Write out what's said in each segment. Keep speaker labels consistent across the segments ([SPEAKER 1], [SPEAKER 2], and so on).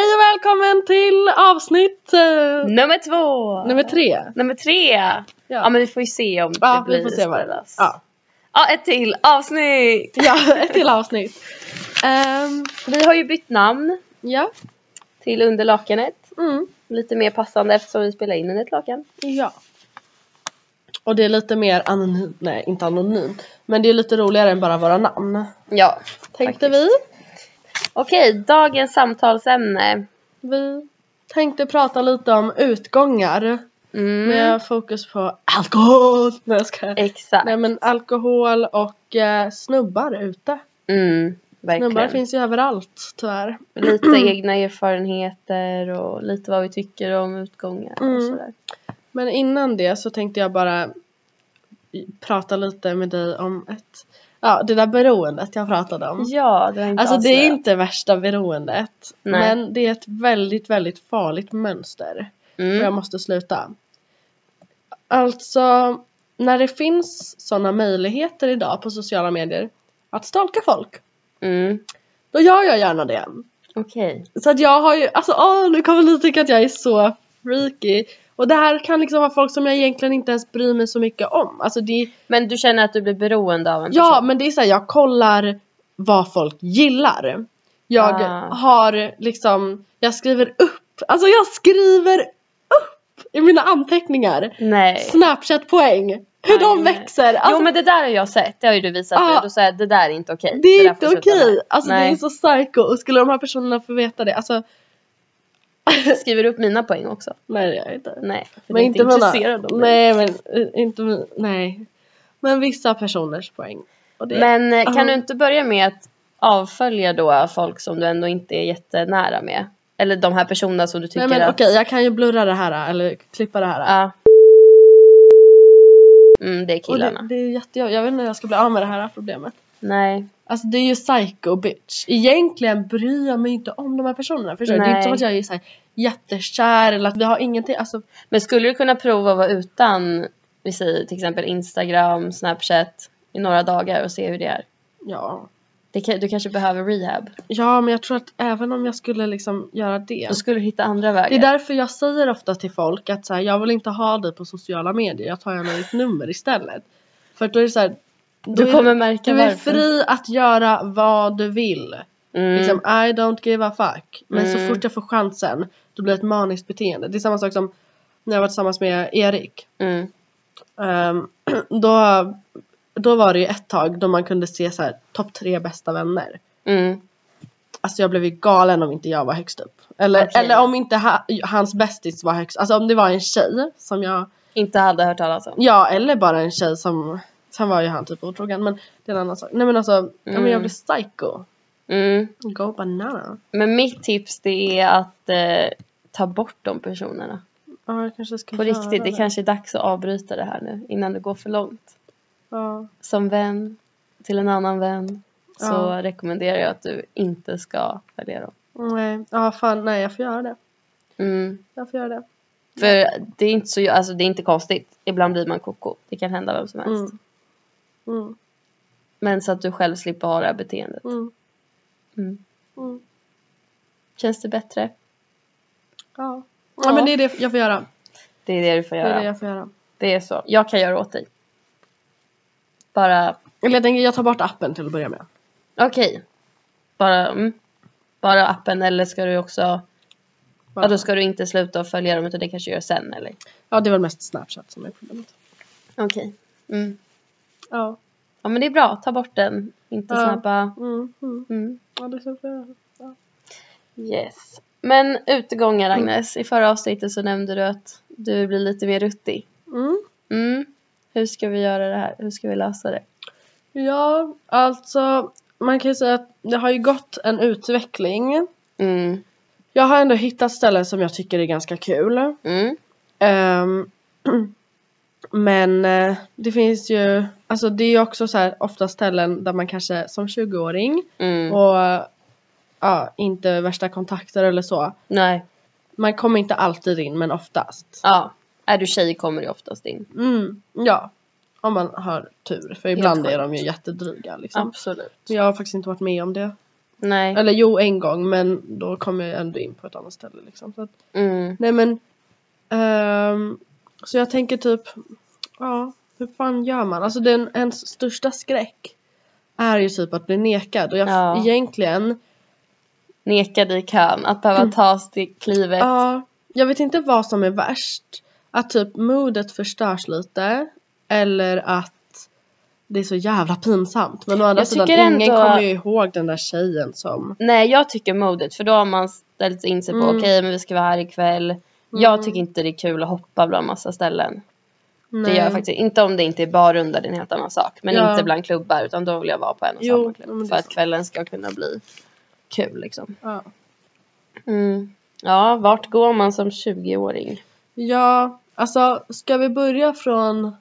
[SPEAKER 1] välkommen till avsnitt eh,
[SPEAKER 2] Nummer två!
[SPEAKER 1] nummer tre.
[SPEAKER 2] Nummer tre! Ja. men vi får ju se om
[SPEAKER 1] Ja,
[SPEAKER 2] det
[SPEAKER 1] vi
[SPEAKER 2] blir
[SPEAKER 1] får se vad det är.
[SPEAKER 2] spelas.
[SPEAKER 1] Ja.
[SPEAKER 2] ja, ett till avsnitt!
[SPEAKER 1] ja, ett till avsnitt. Ehm,
[SPEAKER 2] Vi har ju bytt namn
[SPEAKER 1] ja.
[SPEAKER 2] till Under lakanet.
[SPEAKER 1] Mm.
[SPEAKER 2] Lite mer passande eftersom vi spelar in under ett lakan.
[SPEAKER 1] ja. Och det är lite mer anonymt, nej inte anonymt, men det är lite roligare än bara våra namn.
[SPEAKER 2] Ja.
[SPEAKER 1] Tänkte
[SPEAKER 2] Faktiskt. Okej, dagens samtalsämne.
[SPEAKER 1] vi. Vi tänkte prata lite om utgångar
[SPEAKER 2] Mm.
[SPEAKER 1] med fokus på alkohol. Nej jag skojar.
[SPEAKER 2] Exakt.
[SPEAKER 1] Nej men alkohol och eh, snubbar ute.
[SPEAKER 2] Mm,
[SPEAKER 1] Snubbar
[SPEAKER 2] verkligen.
[SPEAKER 1] finns ju överallt tyvärr.
[SPEAKER 2] Lite egna erfarenheter och lite vad vi tycker om utgångar
[SPEAKER 1] Mm.
[SPEAKER 2] och sådär.
[SPEAKER 1] Men innan det så tänkte jag bara prata lite med dig om ett, ja det där beroendet jag pratade om.
[SPEAKER 2] Ja, det var inte
[SPEAKER 1] Alltså det är
[SPEAKER 2] avslöjat.
[SPEAKER 1] inte värsta beroendet.
[SPEAKER 2] Nej.
[SPEAKER 1] Men det är ett väldigt, väldigt farligt mönster. Och jag
[SPEAKER 2] Mm.
[SPEAKER 1] måste sluta. Alltså, när det finns sådana möjligheter idag på sociala medier att stalka folk,
[SPEAKER 2] Mm.
[SPEAKER 1] då gör jag gärna det.
[SPEAKER 2] Okej.
[SPEAKER 1] Så att jag har ju, alltså åh, nu kommer ni tycka att jag är så freaky. Och det här kan liksom vara folk som jag egentligen inte ens bryr mig så mycket om. Alltså det,
[SPEAKER 2] Men du känner att du blir beroende av en
[SPEAKER 1] ja
[SPEAKER 2] person?
[SPEAKER 1] men det är såhär jag kollar vad folk gillar. Jag
[SPEAKER 2] Ah.
[SPEAKER 1] har liksom, jag skriver upp, alltså jag skriver upp i mina anteckningar.
[SPEAKER 2] Nej.
[SPEAKER 1] Snapchat-poäng, hur de
[SPEAKER 2] Nej.
[SPEAKER 1] växer. Alltså,
[SPEAKER 2] jo men det där har jag sett, det har ju du visat
[SPEAKER 1] Ja.
[SPEAKER 2] mig. Då säger jag det där är inte okej.
[SPEAKER 1] det är
[SPEAKER 2] där
[SPEAKER 1] inte
[SPEAKER 2] får du sluta
[SPEAKER 1] okej.
[SPEAKER 2] med.
[SPEAKER 1] Alltså det
[SPEAKER 2] Nej.
[SPEAKER 1] är så psycho och skulle de här personerna få veta det, alltså
[SPEAKER 2] Jag skriver upp mina poäng också.
[SPEAKER 1] nej det gör jag inte.
[SPEAKER 2] Nej, för men inte
[SPEAKER 1] mina-
[SPEAKER 2] intresserad av
[SPEAKER 1] Nej
[SPEAKER 2] mig.
[SPEAKER 1] men eh, inte min- nej. Men vissa personers poäng. Och det,
[SPEAKER 2] Men eh, kan
[SPEAKER 1] Ja.
[SPEAKER 2] du inte börja med att avfölja då folk som du ändå inte är jättenära med? Eller de här personerna som du tycker
[SPEAKER 1] nej men
[SPEAKER 2] att...
[SPEAKER 1] okej jag kan ju blurra det här eller klippa det här.
[SPEAKER 2] Ja. Mm, det är
[SPEAKER 1] och
[SPEAKER 2] killarna.
[SPEAKER 1] det, det är jättejobbigt, jag vet inte hur jag ska bli av med det här problemet.
[SPEAKER 2] Nej.
[SPEAKER 1] Alltså det är ju psycho bitch. Egentligen bryr jag mig inte om de här personerna förstår du? Det är inte
[SPEAKER 2] Nej.
[SPEAKER 1] som att jag är så här jättekär eller att vi har ingenting, alltså
[SPEAKER 2] Men skulle du kunna prova att vara utan, vi säger till exempel Instagram, Snapchat i några dagar och se hur det är?
[SPEAKER 1] ja.
[SPEAKER 2] Det, ka- du kanske behöver rehab.
[SPEAKER 1] Ja men jag tror att även om jag skulle liksom göra det.
[SPEAKER 2] Då skulle du hitta andra vägar.
[SPEAKER 1] Det är därför jag säger ofta till folk att så här, jag vill inte ha dig på sociala medier, jag tar gärna ditt nummer istället. För att då är det så här, då
[SPEAKER 2] du
[SPEAKER 1] är
[SPEAKER 2] kommer märka
[SPEAKER 1] du är
[SPEAKER 2] varför.
[SPEAKER 1] fri att göra vad du vill.
[SPEAKER 2] Mm.
[SPEAKER 1] Liksom I don't give a fuck. Men så
[SPEAKER 2] Mm.
[SPEAKER 1] fort jag får chansen då blir det ett maniskt beteende. Det är samma sak som när jag var tillsammans med Erik.
[SPEAKER 2] mm.
[SPEAKER 1] Ehm, då, då var det ju ett tag då man kunde se så här topp tre bästa vänner.
[SPEAKER 2] Mm.
[SPEAKER 1] Alltså jag blev ju galen om inte jag var högst upp. Eller,
[SPEAKER 2] Okej.
[SPEAKER 1] eller om inte ha, hans bästis var högst Alltså om det var en tjej som jag
[SPEAKER 2] Inte hade hört talas om.
[SPEAKER 1] Ja, eller bara en tjej som... Sen var ju han typ otrogen, men det är en annan sak. Nej men alltså, ja, men jag
[SPEAKER 2] Mm.
[SPEAKER 1] blev psycho.
[SPEAKER 2] Mm.
[SPEAKER 1] Go banana.
[SPEAKER 2] Men mitt tips det är att eh, ta bort de personerna.
[SPEAKER 1] Ja, jag kanske ska
[SPEAKER 2] På
[SPEAKER 1] göra
[SPEAKER 2] riktigt, det kanske är dags att avbryta det här nu innan det går för långt.
[SPEAKER 1] Ja.
[SPEAKER 2] Som vän till en annan vän så
[SPEAKER 1] Ja.
[SPEAKER 2] rekommenderar jag att du inte ska följa dem.
[SPEAKER 1] Nej, ja fan nej jag får göra det.
[SPEAKER 2] Mm.
[SPEAKER 1] Jag får göra det.
[SPEAKER 2] För det är, inte så, alltså, det är inte konstigt. Ibland blir man koko. Det kan hända vem som helst.
[SPEAKER 1] Mm. Mm,
[SPEAKER 2] Men så att du själv slipper ha det här beteendet.
[SPEAKER 1] mm,
[SPEAKER 2] Mm.
[SPEAKER 1] mm.
[SPEAKER 2] Känns det bättre?
[SPEAKER 1] Ja. ja.
[SPEAKER 2] Ja.
[SPEAKER 1] men det är det jag får göra.
[SPEAKER 2] Det är det du får
[SPEAKER 1] Det
[SPEAKER 2] göra.
[SPEAKER 1] är det jag får göra.
[SPEAKER 2] Det är så. Jag kan göra åt dig. Bara,
[SPEAKER 1] Eller jag tänker jag tar bort appen till att börja med.
[SPEAKER 2] okej. Bara, mm. Bara appen eller ska du också...
[SPEAKER 1] Bara-
[SPEAKER 2] Ja, då ska du inte sluta att följa dem utan det kanske du gör sen eller?
[SPEAKER 1] Ja det är väl mest snapchat som är problemet.
[SPEAKER 2] Okej. Mm.
[SPEAKER 1] Ja.
[SPEAKER 2] Ja men det är bra, ta bort den. Inte
[SPEAKER 1] Ja.
[SPEAKER 2] snabba...
[SPEAKER 1] Mm, mm.
[SPEAKER 2] Mm.
[SPEAKER 1] Ja det är så jag får göra.
[SPEAKER 2] Yes. Men utegångar Agnes, i förra avsnittet så nämnde du att du blir lite mer ruttig.
[SPEAKER 1] Mm.
[SPEAKER 2] Mm. Hur ska vi göra det här? Hur ska vi lösa det?
[SPEAKER 1] Ja alltså man kan ju säga att det har ju gått en utveckling.
[SPEAKER 2] Mm.
[SPEAKER 1] Jag har ändå hittat ställen som jag tycker är ganska kul.
[SPEAKER 2] Mm.
[SPEAKER 1] Ehm, men eh, det finns ju, alltså det är ju också så här ofta ställen där man kanske som 20-åring
[SPEAKER 2] Mm.
[SPEAKER 1] och ja, inte värsta kontakter eller så.
[SPEAKER 2] Nej.
[SPEAKER 1] Man kommer inte alltid in men oftast.
[SPEAKER 2] Ja. Är du tjej kommer du oftast in.
[SPEAKER 1] Mm, ja, om man har tur för ibland är
[SPEAKER 2] sjukt.
[SPEAKER 1] de ju jättedryga liksom.
[SPEAKER 2] Absolut.
[SPEAKER 1] Jag har faktiskt inte varit med om det.
[SPEAKER 2] Nej.
[SPEAKER 1] Eller jo, en gång men då kom jag ändå in på ett annat ställe liksom. Så att,
[SPEAKER 2] Mm.
[SPEAKER 1] nej men. ehm, så jag tänker typ, ja, hur fan gör man? Alltså den, ens största skräck är ju typ att bli nekad och jag
[SPEAKER 2] Ja.
[SPEAKER 1] egentligen,
[SPEAKER 2] Neka dig kan. Att behöva ta till klivet.
[SPEAKER 1] Mm. ja, jag vet inte vad som är värst. Att typ modet förstörs lite eller att det är så jävla pinsamt. Men å andra
[SPEAKER 2] Jag
[SPEAKER 1] sidan,
[SPEAKER 2] tycker
[SPEAKER 1] ingen
[SPEAKER 2] ändå-
[SPEAKER 1] kommer ju ihåg den där tjejen som
[SPEAKER 2] Nej, jag tycker modet. För då har man ställt in sig på
[SPEAKER 1] Mm.
[SPEAKER 2] okej, men vi ska vara här ikväll. Jag tycker inte det är kul att hoppa bland massa ställen. Det gör jag faktiskt inte om det inte är barrunda, det är en helt annan sak. Men
[SPEAKER 1] Ja.
[SPEAKER 2] inte bland klubbar utan då vill jag vara på en och
[SPEAKER 1] Jo,
[SPEAKER 2] samma
[SPEAKER 1] ja, men
[SPEAKER 2] klubb.
[SPEAKER 1] det
[SPEAKER 2] För
[SPEAKER 1] är
[SPEAKER 2] att
[SPEAKER 1] sant.
[SPEAKER 2] kvällen ska kunna bli kul liksom.
[SPEAKER 1] Ja.
[SPEAKER 2] Mm. Ja, vart går man som 20-åring?
[SPEAKER 1] Ja, alltså ska vi börja från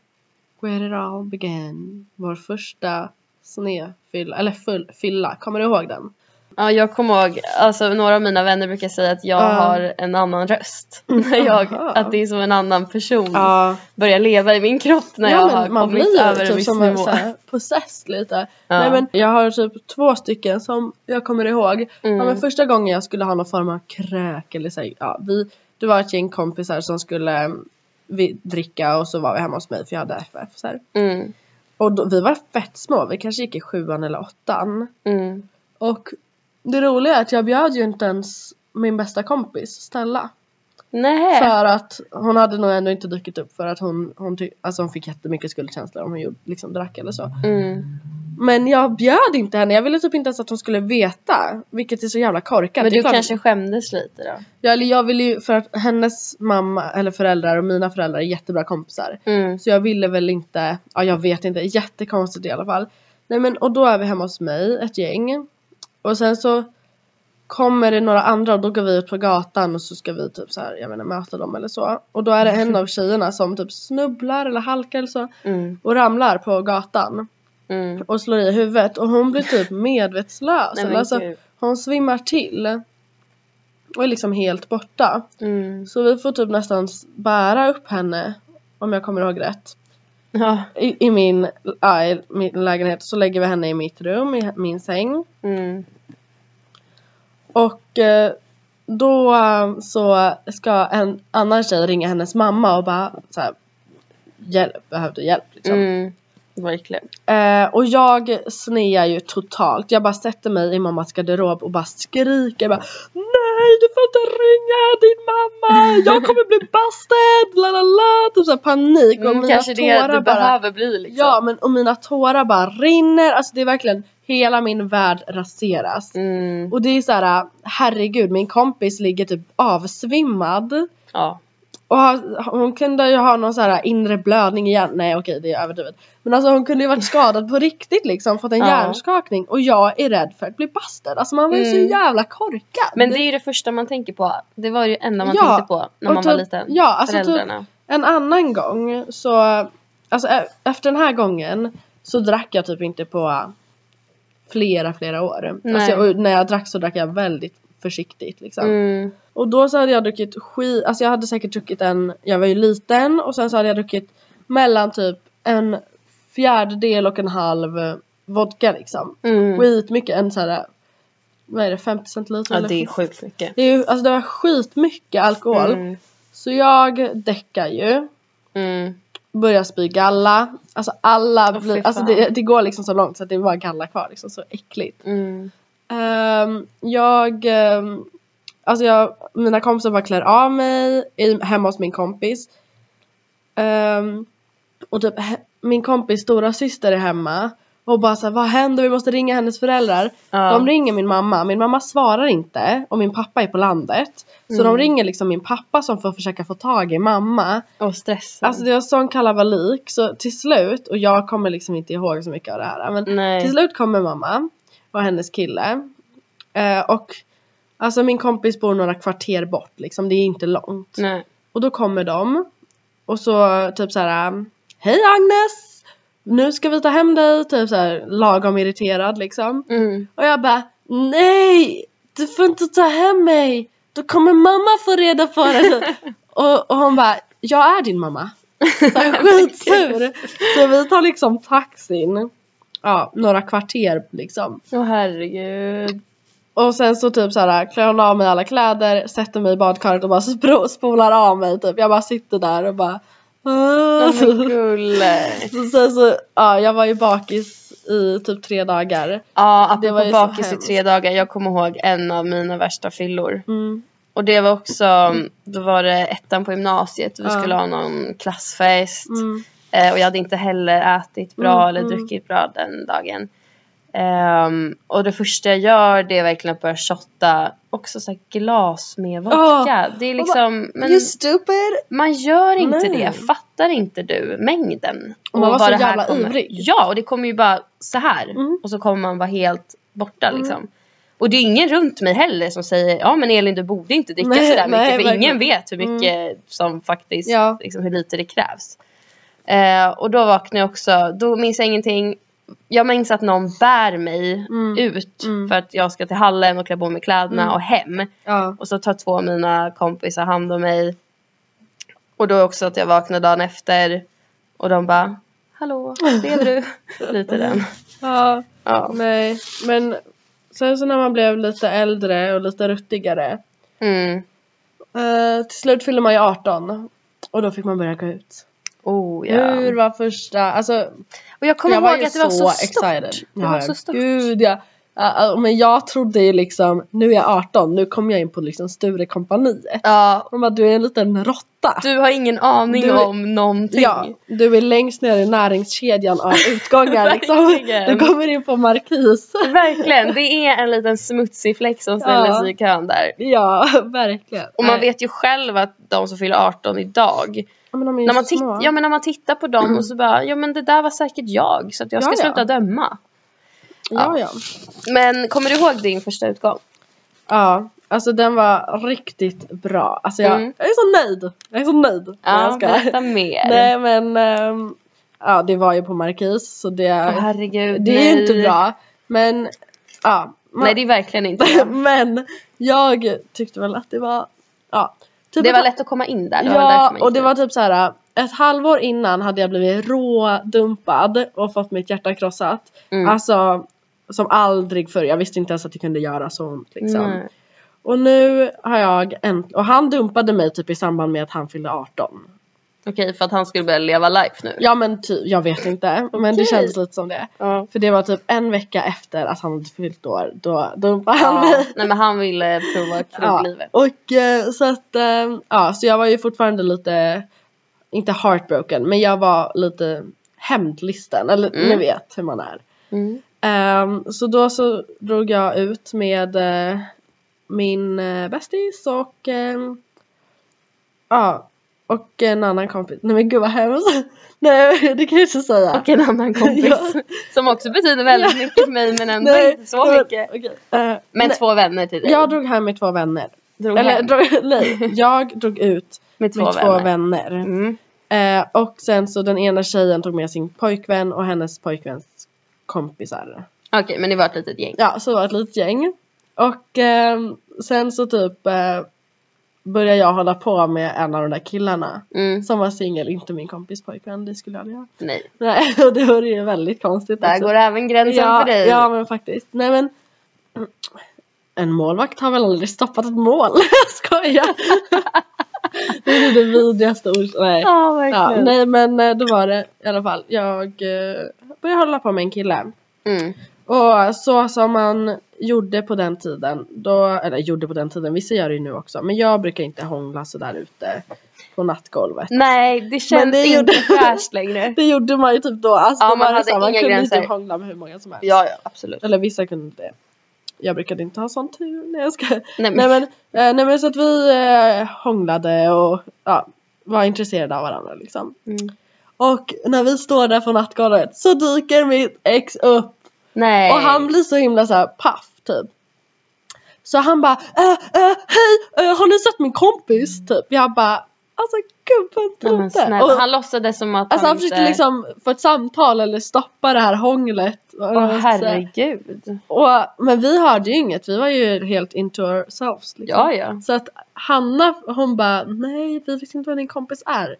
[SPEAKER 1] Where it all began? Vår första snefylla, eller full, fylla, kommer du ihåg den?
[SPEAKER 2] Ja, jag kommer ihåg, alltså några av mina vänner brukar säga att jag
[SPEAKER 1] Ja.
[SPEAKER 2] har en annan röst. När jag,
[SPEAKER 1] Aha.
[SPEAKER 2] att det är som en annan person
[SPEAKER 1] Ja,
[SPEAKER 2] börjar leva i min kropp när jag har
[SPEAKER 1] man
[SPEAKER 2] kommit
[SPEAKER 1] blir ju
[SPEAKER 2] över en
[SPEAKER 1] typ
[SPEAKER 2] viss
[SPEAKER 1] som en
[SPEAKER 2] nivå.
[SPEAKER 1] så här possessed lite.
[SPEAKER 2] Ja.
[SPEAKER 1] Nej men jag har typ två stycken som jag kommer ihåg. Ja,
[SPEAKER 2] Mm.
[SPEAKER 1] men första gången jag skulle ha någon form av kräk eller så här, ja, vi, det var ett gäng kompisar som skulle mm, vi, dricka och så var vi hemma hos mig för jag hade FF. Så här.
[SPEAKER 2] Mm.
[SPEAKER 1] Och då, vi var fett små, vi kanske gick i sjuan eller åttan.
[SPEAKER 2] Mm.
[SPEAKER 1] Och det roliga är att jag bjöd ju inte ens min bästa kompis Stella.
[SPEAKER 2] Nej.
[SPEAKER 1] För att hon hade nog ändå inte dykt upp för att hon, hon, ty- alltså hon fick jättemycket skuldkänslor om hon gjorde, liksom drack eller så.
[SPEAKER 2] Mm.
[SPEAKER 1] Men jag bjöd inte henne, jag ville typ inte ens att hon skulle veta. Vilket är så jävla korkat.
[SPEAKER 2] Men
[SPEAKER 1] Det är
[SPEAKER 2] du
[SPEAKER 1] klart-
[SPEAKER 2] kanske skämdes lite då?
[SPEAKER 1] jag, eller jag ville ju, för att hennes mamma eller föräldrar och mina föräldrar är jättebra kompisar.
[SPEAKER 2] Mm.
[SPEAKER 1] Så jag ville väl inte, ja jag vet inte, jättekonstigt i alla fall. Nej men och då är vi hemma hos mig, ett gäng. Och sen så kommer det några andra och då går vi ut på gatan och så ska vi typ så här, jag menar möta dem eller så. Och då är det en av tjejerna som typ snubblar eller halkar eller så
[SPEAKER 2] Mm.
[SPEAKER 1] och ramlar på gatan
[SPEAKER 2] Mm.
[SPEAKER 1] och slår i huvudet och hon blir typ medvetslös.
[SPEAKER 2] Nej,
[SPEAKER 1] eller
[SPEAKER 2] men
[SPEAKER 1] alltså,
[SPEAKER 2] gud.
[SPEAKER 1] hon svimmar till. Och är liksom helt borta.
[SPEAKER 2] Mm.
[SPEAKER 1] Så vi får typ nästan bära upp henne om jag kommer ihåg rätt.
[SPEAKER 2] Ja.
[SPEAKER 1] i, i min, ja, i min lägenhet så lägger vi henne i mitt rum, i min säng.
[SPEAKER 2] Mm.
[SPEAKER 1] Och eh, då eh, så ska en annan tjej ringa hennes mamma och bara så här, hjälp, behövde hjälp liksom.
[SPEAKER 2] Mm. Verkligen.
[SPEAKER 1] Eh, och jag snear ju totalt. Jag bara sätter mig i mammas garderob och bara skriker bara Nej du får inte ringa din mamma! Jag kommer bli busted! La la la! Typ såhär panik och
[SPEAKER 2] Mm,
[SPEAKER 1] mina
[SPEAKER 2] kanske det
[SPEAKER 1] tårar
[SPEAKER 2] du
[SPEAKER 1] bara
[SPEAKER 2] behöver bli liksom.
[SPEAKER 1] Ja men och mina tårar bara rinner, alltså det är verkligen hela min värld raseras.
[SPEAKER 2] Mm.
[SPEAKER 1] Och det är så här, äh, herregud min kompis ligger typ avsvimmad.
[SPEAKER 2] Ja.
[SPEAKER 1] Och har- hon kunde ju ha någon så här inre blödning igen, nej okej det är överdrivet. Men alltså hon kunde ju varit skadad på riktigt liksom, fått en
[SPEAKER 2] Ja.
[SPEAKER 1] hjärnskakning. Och jag är rädd för att bli bastad, alltså man var ju
[SPEAKER 2] Mm.
[SPEAKER 1] så jävla korkad.
[SPEAKER 2] Men det är ju det första man tänker på. Det var ju det enda man
[SPEAKER 1] Ja,
[SPEAKER 2] tänkte på när
[SPEAKER 1] och
[SPEAKER 2] man var
[SPEAKER 1] typ-
[SPEAKER 2] liten.
[SPEAKER 1] ja, alltså typ-
[SPEAKER 2] Föräldrarna.
[SPEAKER 1] En annan gång så, alltså e- efter den här gången så drack jag typ inte på flera, flera år.
[SPEAKER 2] Nej.
[SPEAKER 1] Alltså, och när jag drack så drack jag väldigt försiktigt liksom.
[SPEAKER 2] Mm.
[SPEAKER 1] Och då så hade jag druckit skit, alltså jag hade säkert druckit en, jag var ju liten och sen så hade jag druckit mellan typ en fjärdedel och en halv vodka liksom.
[SPEAKER 2] Mm.
[SPEAKER 1] Skitmycket, en såhär, vad är det, 50 centiliter?
[SPEAKER 2] Ja,
[SPEAKER 1] eller?
[SPEAKER 2] det är sjukt mycket.
[SPEAKER 1] det är ju, alltså det var skitmycket alkohol.
[SPEAKER 2] Mm.
[SPEAKER 1] Så jag däckar ju
[SPEAKER 2] Mm.
[SPEAKER 1] börjar spy galla. Alltså alla
[SPEAKER 2] Åh, fy
[SPEAKER 1] blir, alltså
[SPEAKER 2] fan.
[SPEAKER 1] det, det går liksom så långt så att det är bara galla kvar liksom, så äckligt.
[SPEAKER 2] Mm.
[SPEAKER 1] Ehm, jag, ehm, alltså jag, mina kompisar bara klär av mig i, hemma hos min kompis. Ehm, och typ he, min kompis stora syster är hemma och bara såhär, vad händer? Vi måste ringa hennes föräldrar.
[SPEAKER 2] Ja.
[SPEAKER 1] De ringer min mamma, min mamma svarar inte och min pappa är på landet. Så
[SPEAKER 2] Mm.
[SPEAKER 1] de ringer liksom min pappa som får försöka få tag i mamma.
[SPEAKER 2] Och stressen.
[SPEAKER 1] Alltså det var sån kalabalik så till slut och jag kommer liksom inte ihåg så mycket av det här men
[SPEAKER 2] Nej.
[SPEAKER 1] till slut kommer mamma och hennes kille eh, och alltså min kompis bor några kvarter bort liksom det är inte långt
[SPEAKER 2] Nej.
[SPEAKER 1] och då kommer de och så typ så här hej Agnes nu ska vi ta hem dig typ så här lagom irriterad liksom
[SPEAKER 2] Mm.
[SPEAKER 1] och jag bara nej du får inte ta hem mig då kommer mamma få reda på det och, och hon bara jag är din mamma så här skitsur. Så vi tar liksom taxin. Ja, några kvarter liksom.
[SPEAKER 2] Åh herregud.
[SPEAKER 1] Och sen så typ såhär klär hon av mig alla kläder, sätter mig i badkaret och bara spro- spolar av mig typ. Jag bara sitter där och bara "Ah."
[SPEAKER 2] Men gulle.
[SPEAKER 1] Så sen så, ja jag var ju bakis i typ tre dagar.
[SPEAKER 2] Ja,
[SPEAKER 1] Det var
[SPEAKER 2] apropå
[SPEAKER 1] ju så
[SPEAKER 2] bakis i
[SPEAKER 1] hemskt.
[SPEAKER 2] tre dagar. Jag kommer ihåg en av mina värsta fyllor.
[SPEAKER 1] Mm.
[SPEAKER 2] Och det var också, då var det ettan på gymnasiet och vi
[SPEAKER 1] Ja.
[SPEAKER 2] skulle ha någon klassfest.
[SPEAKER 1] Mm.
[SPEAKER 2] Eh, och jag hade inte heller ätit bra
[SPEAKER 1] Mm,
[SPEAKER 2] eller
[SPEAKER 1] mm.
[SPEAKER 2] druckit bra den dagen. Ehm, och det första jag gör det är verkligen att börja shotta också så här glas med vodka. det är liksom, men
[SPEAKER 1] You stupid!
[SPEAKER 2] man gör inte
[SPEAKER 1] Nej.
[SPEAKER 2] det. Fattar inte du mängden?
[SPEAKER 1] Och man var
[SPEAKER 2] vad
[SPEAKER 1] så
[SPEAKER 2] det här
[SPEAKER 1] jävla
[SPEAKER 2] kommer.
[SPEAKER 1] ivrig.
[SPEAKER 2] Ja, och det kommer ju bara så här.
[SPEAKER 1] Mm.
[SPEAKER 2] Och så kommer man vara helt borta
[SPEAKER 1] Mm.
[SPEAKER 2] liksom. Och det är ingen runt mig heller som säger ja men Elin du borde inte dricka
[SPEAKER 1] Nej, nej,
[SPEAKER 2] sådär mycket för
[SPEAKER 1] verkligen. Mm.
[SPEAKER 2] ingen vet hur mycket som faktiskt,
[SPEAKER 1] Ja.
[SPEAKER 2] liksom, hur lite det krävs. Eh, och då vaknade jag också, då minns jag ingenting. Jag minns att någon bär mig
[SPEAKER 1] Mm.
[SPEAKER 2] ut
[SPEAKER 1] Mm.
[SPEAKER 2] för att jag ska till hallen och klä på mig kläderna
[SPEAKER 1] Mm.
[SPEAKER 2] och hem.
[SPEAKER 1] Ja.
[SPEAKER 2] Och så tar två av mina kompisar hand om mig. Och då också att jag vaknar dagen efter. Och de bara Hallå, lever du? Lite den.
[SPEAKER 1] ja.
[SPEAKER 2] Ja.
[SPEAKER 1] Nej, men sen så när man blev lite äldre och lite ruttigare
[SPEAKER 2] Mm.
[SPEAKER 1] eh, till slut fyllde man ju 18 och då fick man börja gå ut.
[SPEAKER 2] Oh ja.
[SPEAKER 1] Hur var första, alltså
[SPEAKER 2] Och jag kommer
[SPEAKER 1] jag var
[SPEAKER 2] ihåg
[SPEAKER 1] ju
[SPEAKER 2] att det var så, stort.
[SPEAKER 1] excited.
[SPEAKER 2] Det
[SPEAKER 1] Ja,
[SPEAKER 2] var så stort.
[SPEAKER 1] Gud ja. Ja, ja, men jag trodde ju liksom, nu är jag 18, nu kommer jag in på liksom Sturecompagniet.
[SPEAKER 2] Ja,
[SPEAKER 1] De bara, du är en liten råtta.
[SPEAKER 2] du har ingen aning
[SPEAKER 1] Du-
[SPEAKER 2] om någonting.
[SPEAKER 1] ja, du är längst ner i näringskedjan av utgångar liksom.
[SPEAKER 2] Verkligen.
[SPEAKER 1] Du kommer in på Markis.
[SPEAKER 2] Verkligen, det är en liten smutsig fläck som ställer
[SPEAKER 1] Ja.
[SPEAKER 2] sig i kön där.
[SPEAKER 1] Ja, verkligen.
[SPEAKER 2] Och man
[SPEAKER 1] Nej.
[SPEAKER 2] vet ju själv att de som fyller 18 idag,
[SPEAKER 1] ja, men de är ju
[SPEAKER 2] när man,
[SPEAKER 1] så
[SPEAKER 2] titt-
[SPEAKER 1] små.
[SPEAKER 2] ja, men när man tittar på dem och så bara, ja men det där var säkert jag så att jag ska
[SPEAKER 1] Ja, ja.
[SPEAKER 2] sluta döma.
[SPEAKER 1] ja, ja.
[SPEAKER 2] Men kommer du ihåg din första utgång?
[SPEAKER 1] Ja, alltså den var riktigt bra. Alltså jag,
[SPEAKER 2] Mm.
[SPEAKER 1] jag är så nöjd. Jag är så nöjd. Nej, jag skojar.
[SPEAKER 2] berätta mer.
[SPEAKER 1] Nej men, ehm, ja det var ju på Markis så det,
[SPEAKER 2] Åh, herregud,
[SPEAKER 1] det är ju
[SPEAKER 2] nej.
[SPEAKER 1] inte bra. Men, ja. man-
[SPEAKER 2] Nej, det är verkligen inte det.
[SPEAKER 1] men jag tyckte väl att det var, ja. Typ
[SPEAKER 2] Det
[SPEAKER 1] att-
[SPEAKER 2] var lätt att komma in där. Det var därför
[SPEAKER 1] Ja,
[SPEAKER 2] man
[SPEAKER 1] och
[SPEAKER 2] gick
[SPEAKER 1] det
[SPEAKER 2] dit.
[SPEAKER 1] var typ så här. Ett halvår innan hade jag blivit rådumpad och fått mitt hjärta krossat.
[SPEAKER 2] Mm.
[SPEAKER 1] Alltså, som aldrig förr. Jag visste inte ens att det kunde göra så ont liksom.
[SPEAKER 2] Nej.
[SPEAKER 1] Och nu har jag en, och han dumpade mig typ i samband med att han fyllde 18.
[SPEAKER 2] Okej, för att han skulle börja leva life nu.
[SPEAKER 1] Ja men typ, jag vet inte. Men det
[SPEAKER 2] Okej.
[SPEAKER 1] kändes lite som det.
[SPEAKER 2] Ja.
[SPEAKER 1] För det var typ en vecka efter att han hade fyllt år, då dumpade han
[SPEAKER 2] Ja.
[SPEAKER 1] mig.
[SPEAKER 2] Nej, men han ville prova kroglivet.
[SPEAKER 1] Och eh, så att, eh, ja så jag var ju fortfarande lite, inte heartbroken, men jag var lite hämndlisten, eller
[SPEAKER 2] Mm.
[SPEAKER 1] ni vet hur man är.
[SPEAKER 2] Mm.
[SPEAKER 1] Ehm, så då så drog jag ut med eh, min eh, bästis och ehm, ja och en annan kompis. Nej men gud vad hemskt. Nej det kan jag inte säga.
[SPEAKER 2] Och en annan kompis.
[SPEAKER 1] Ja.
[SPEAKER 2] Som också betyder väldigt mycket för mig men ändå
[SPEAKER 1] Nej,
[SPEAKER 2] inte så
[SPEAKER 1] men-
[SPEAKER 2] mycket.
[SPEAKER 1] okej. Eh,
[SPEAKER 2] Men
[SPEAKER 1] nej,
[SPEAKER 2] två vänner till dig.
[SPEAKER 1] jag drog hem med två vänner.
[SPEAKER 2] drog
[SPEAKER 1] Eller
[SPEAKER 2] hem
[SPEAKER 1] drog, nej, jag drog ut
[SPEAKER 2] med två
[SPEAKER 1] med
[SPEAKER 2] vänner.
[SPEAKER 1] två vänner.
[SPEAKER 2] Mm.
[SPEAKER 1] Eh, och sen så den ena tjejen tog med sin pojkvän och hennes pojkväns kompisar.
[SPEAKER 2] Okej, men det var ett litet gäng.
[SPEAKER 1] Ja, så det var ett litet gäng. Och ehm, sen så typ eh, började jag hålla på med en av de där killarna.
[SPEAKER 2] Mm.
[SPEAKER 1] Som var singel, inte min kompis pojkvän, det skulle jag aldrig göra.
[SPEAKER 2] Nej.
[SPEAKER 1] Nej, och det var ju väldigt konstigt.
[SPEAKER 2] Där
[SPEAKER 1] också.
[SPEAKER 2] går även gränsen
[SPEAKER 1] Alltså- ja,
[SPEAKER 2] för dig.
[SPEAKER 1] Ja, men faktiskt. Nej men. En målvakt har väl aldrig stoppat ett mål? Skojar! det är det vidrigaste ordet. Nej.
[SPEAKER 2] Ja,
[SPEAKER 1] Ja,
[SPEAKER 2] verkligen.
[SPEAKER 1] nej men eh, då var det i alla fall. Jag eh, började hålla på med en kille.
[SPEAKER 2] Mm.
[SPEAKER 1] Och så som man gjorde på den tiden. Då, eller gjorde på den tiden, vissa gör det ju nu också. Men jag brukar inte hångla sådär ute på nattgolvet.
[SPEAKER 2] Nej, det känns
[SPEAKER 1] det
[SPEAKER 2] inte
[SPEAKER 1] gjorde-
[SPEAKER 2] fräscht längre.
[SPEAKER 1] Det gjorde man ju typ då. Alltså,
[SPEAKER 2] Ja,
[SPEAKER 1] då
[SPEAKER 2] man
[SPEAKER 1] var det
[SPEAKER 2] hade
[SPEAKER 1] så här, man
[SPEAKER 2] inga
[SPEAKER 1] kunde
[SPEAKER 2] gränser.
[SPEAKER 1] ju typ hångla med hur många som helst.
[SPEAKER 2] Ja, ja, absolut.
[SPEAKER 1] Eller vissa kunde det. Jag brukade inte ha sån tur. Nej jag ska.
[SPEAKER 2] Nej, men,
[SPEAKER 1] Nej men, eh, nej men så att vi eh, hånglade och ja, var intresserade av varandra liksom.
[SPEAKER 2] Mm.
[SPEAKER 1] Och när vi står där på nattgolvet så dyker mitt ex upp
[SPEAKER 2] Nej.
[SPEAKER 1] och han blir så himla så här paff typ. Så han bara äh, äh, hej äh, har ni sett min kompis typ? Jag bara alltså gubben
[SPEAKER 2] Nej, Mm. men snälla.
[SPEAKER 1] Och,
[SPEAKER 2] Han låtsades som att
[SPEAKER 1] Alltså han
[SPEAKER 2] inte...
[SPEAKER 1] försökte liksom få ett samtal eller stoppa det här hånglet. Och-
[SPEAKER 2] Åh herregud.
[SPEAKER 1] och, men vi hörde ju inget, vi var ju helt into ourselves. Liksom.
[SPEAKER 2] Ja, ja.
[SPEAKER 1] Så att Hanna hon bara nej vi vet inte vad din kompis är.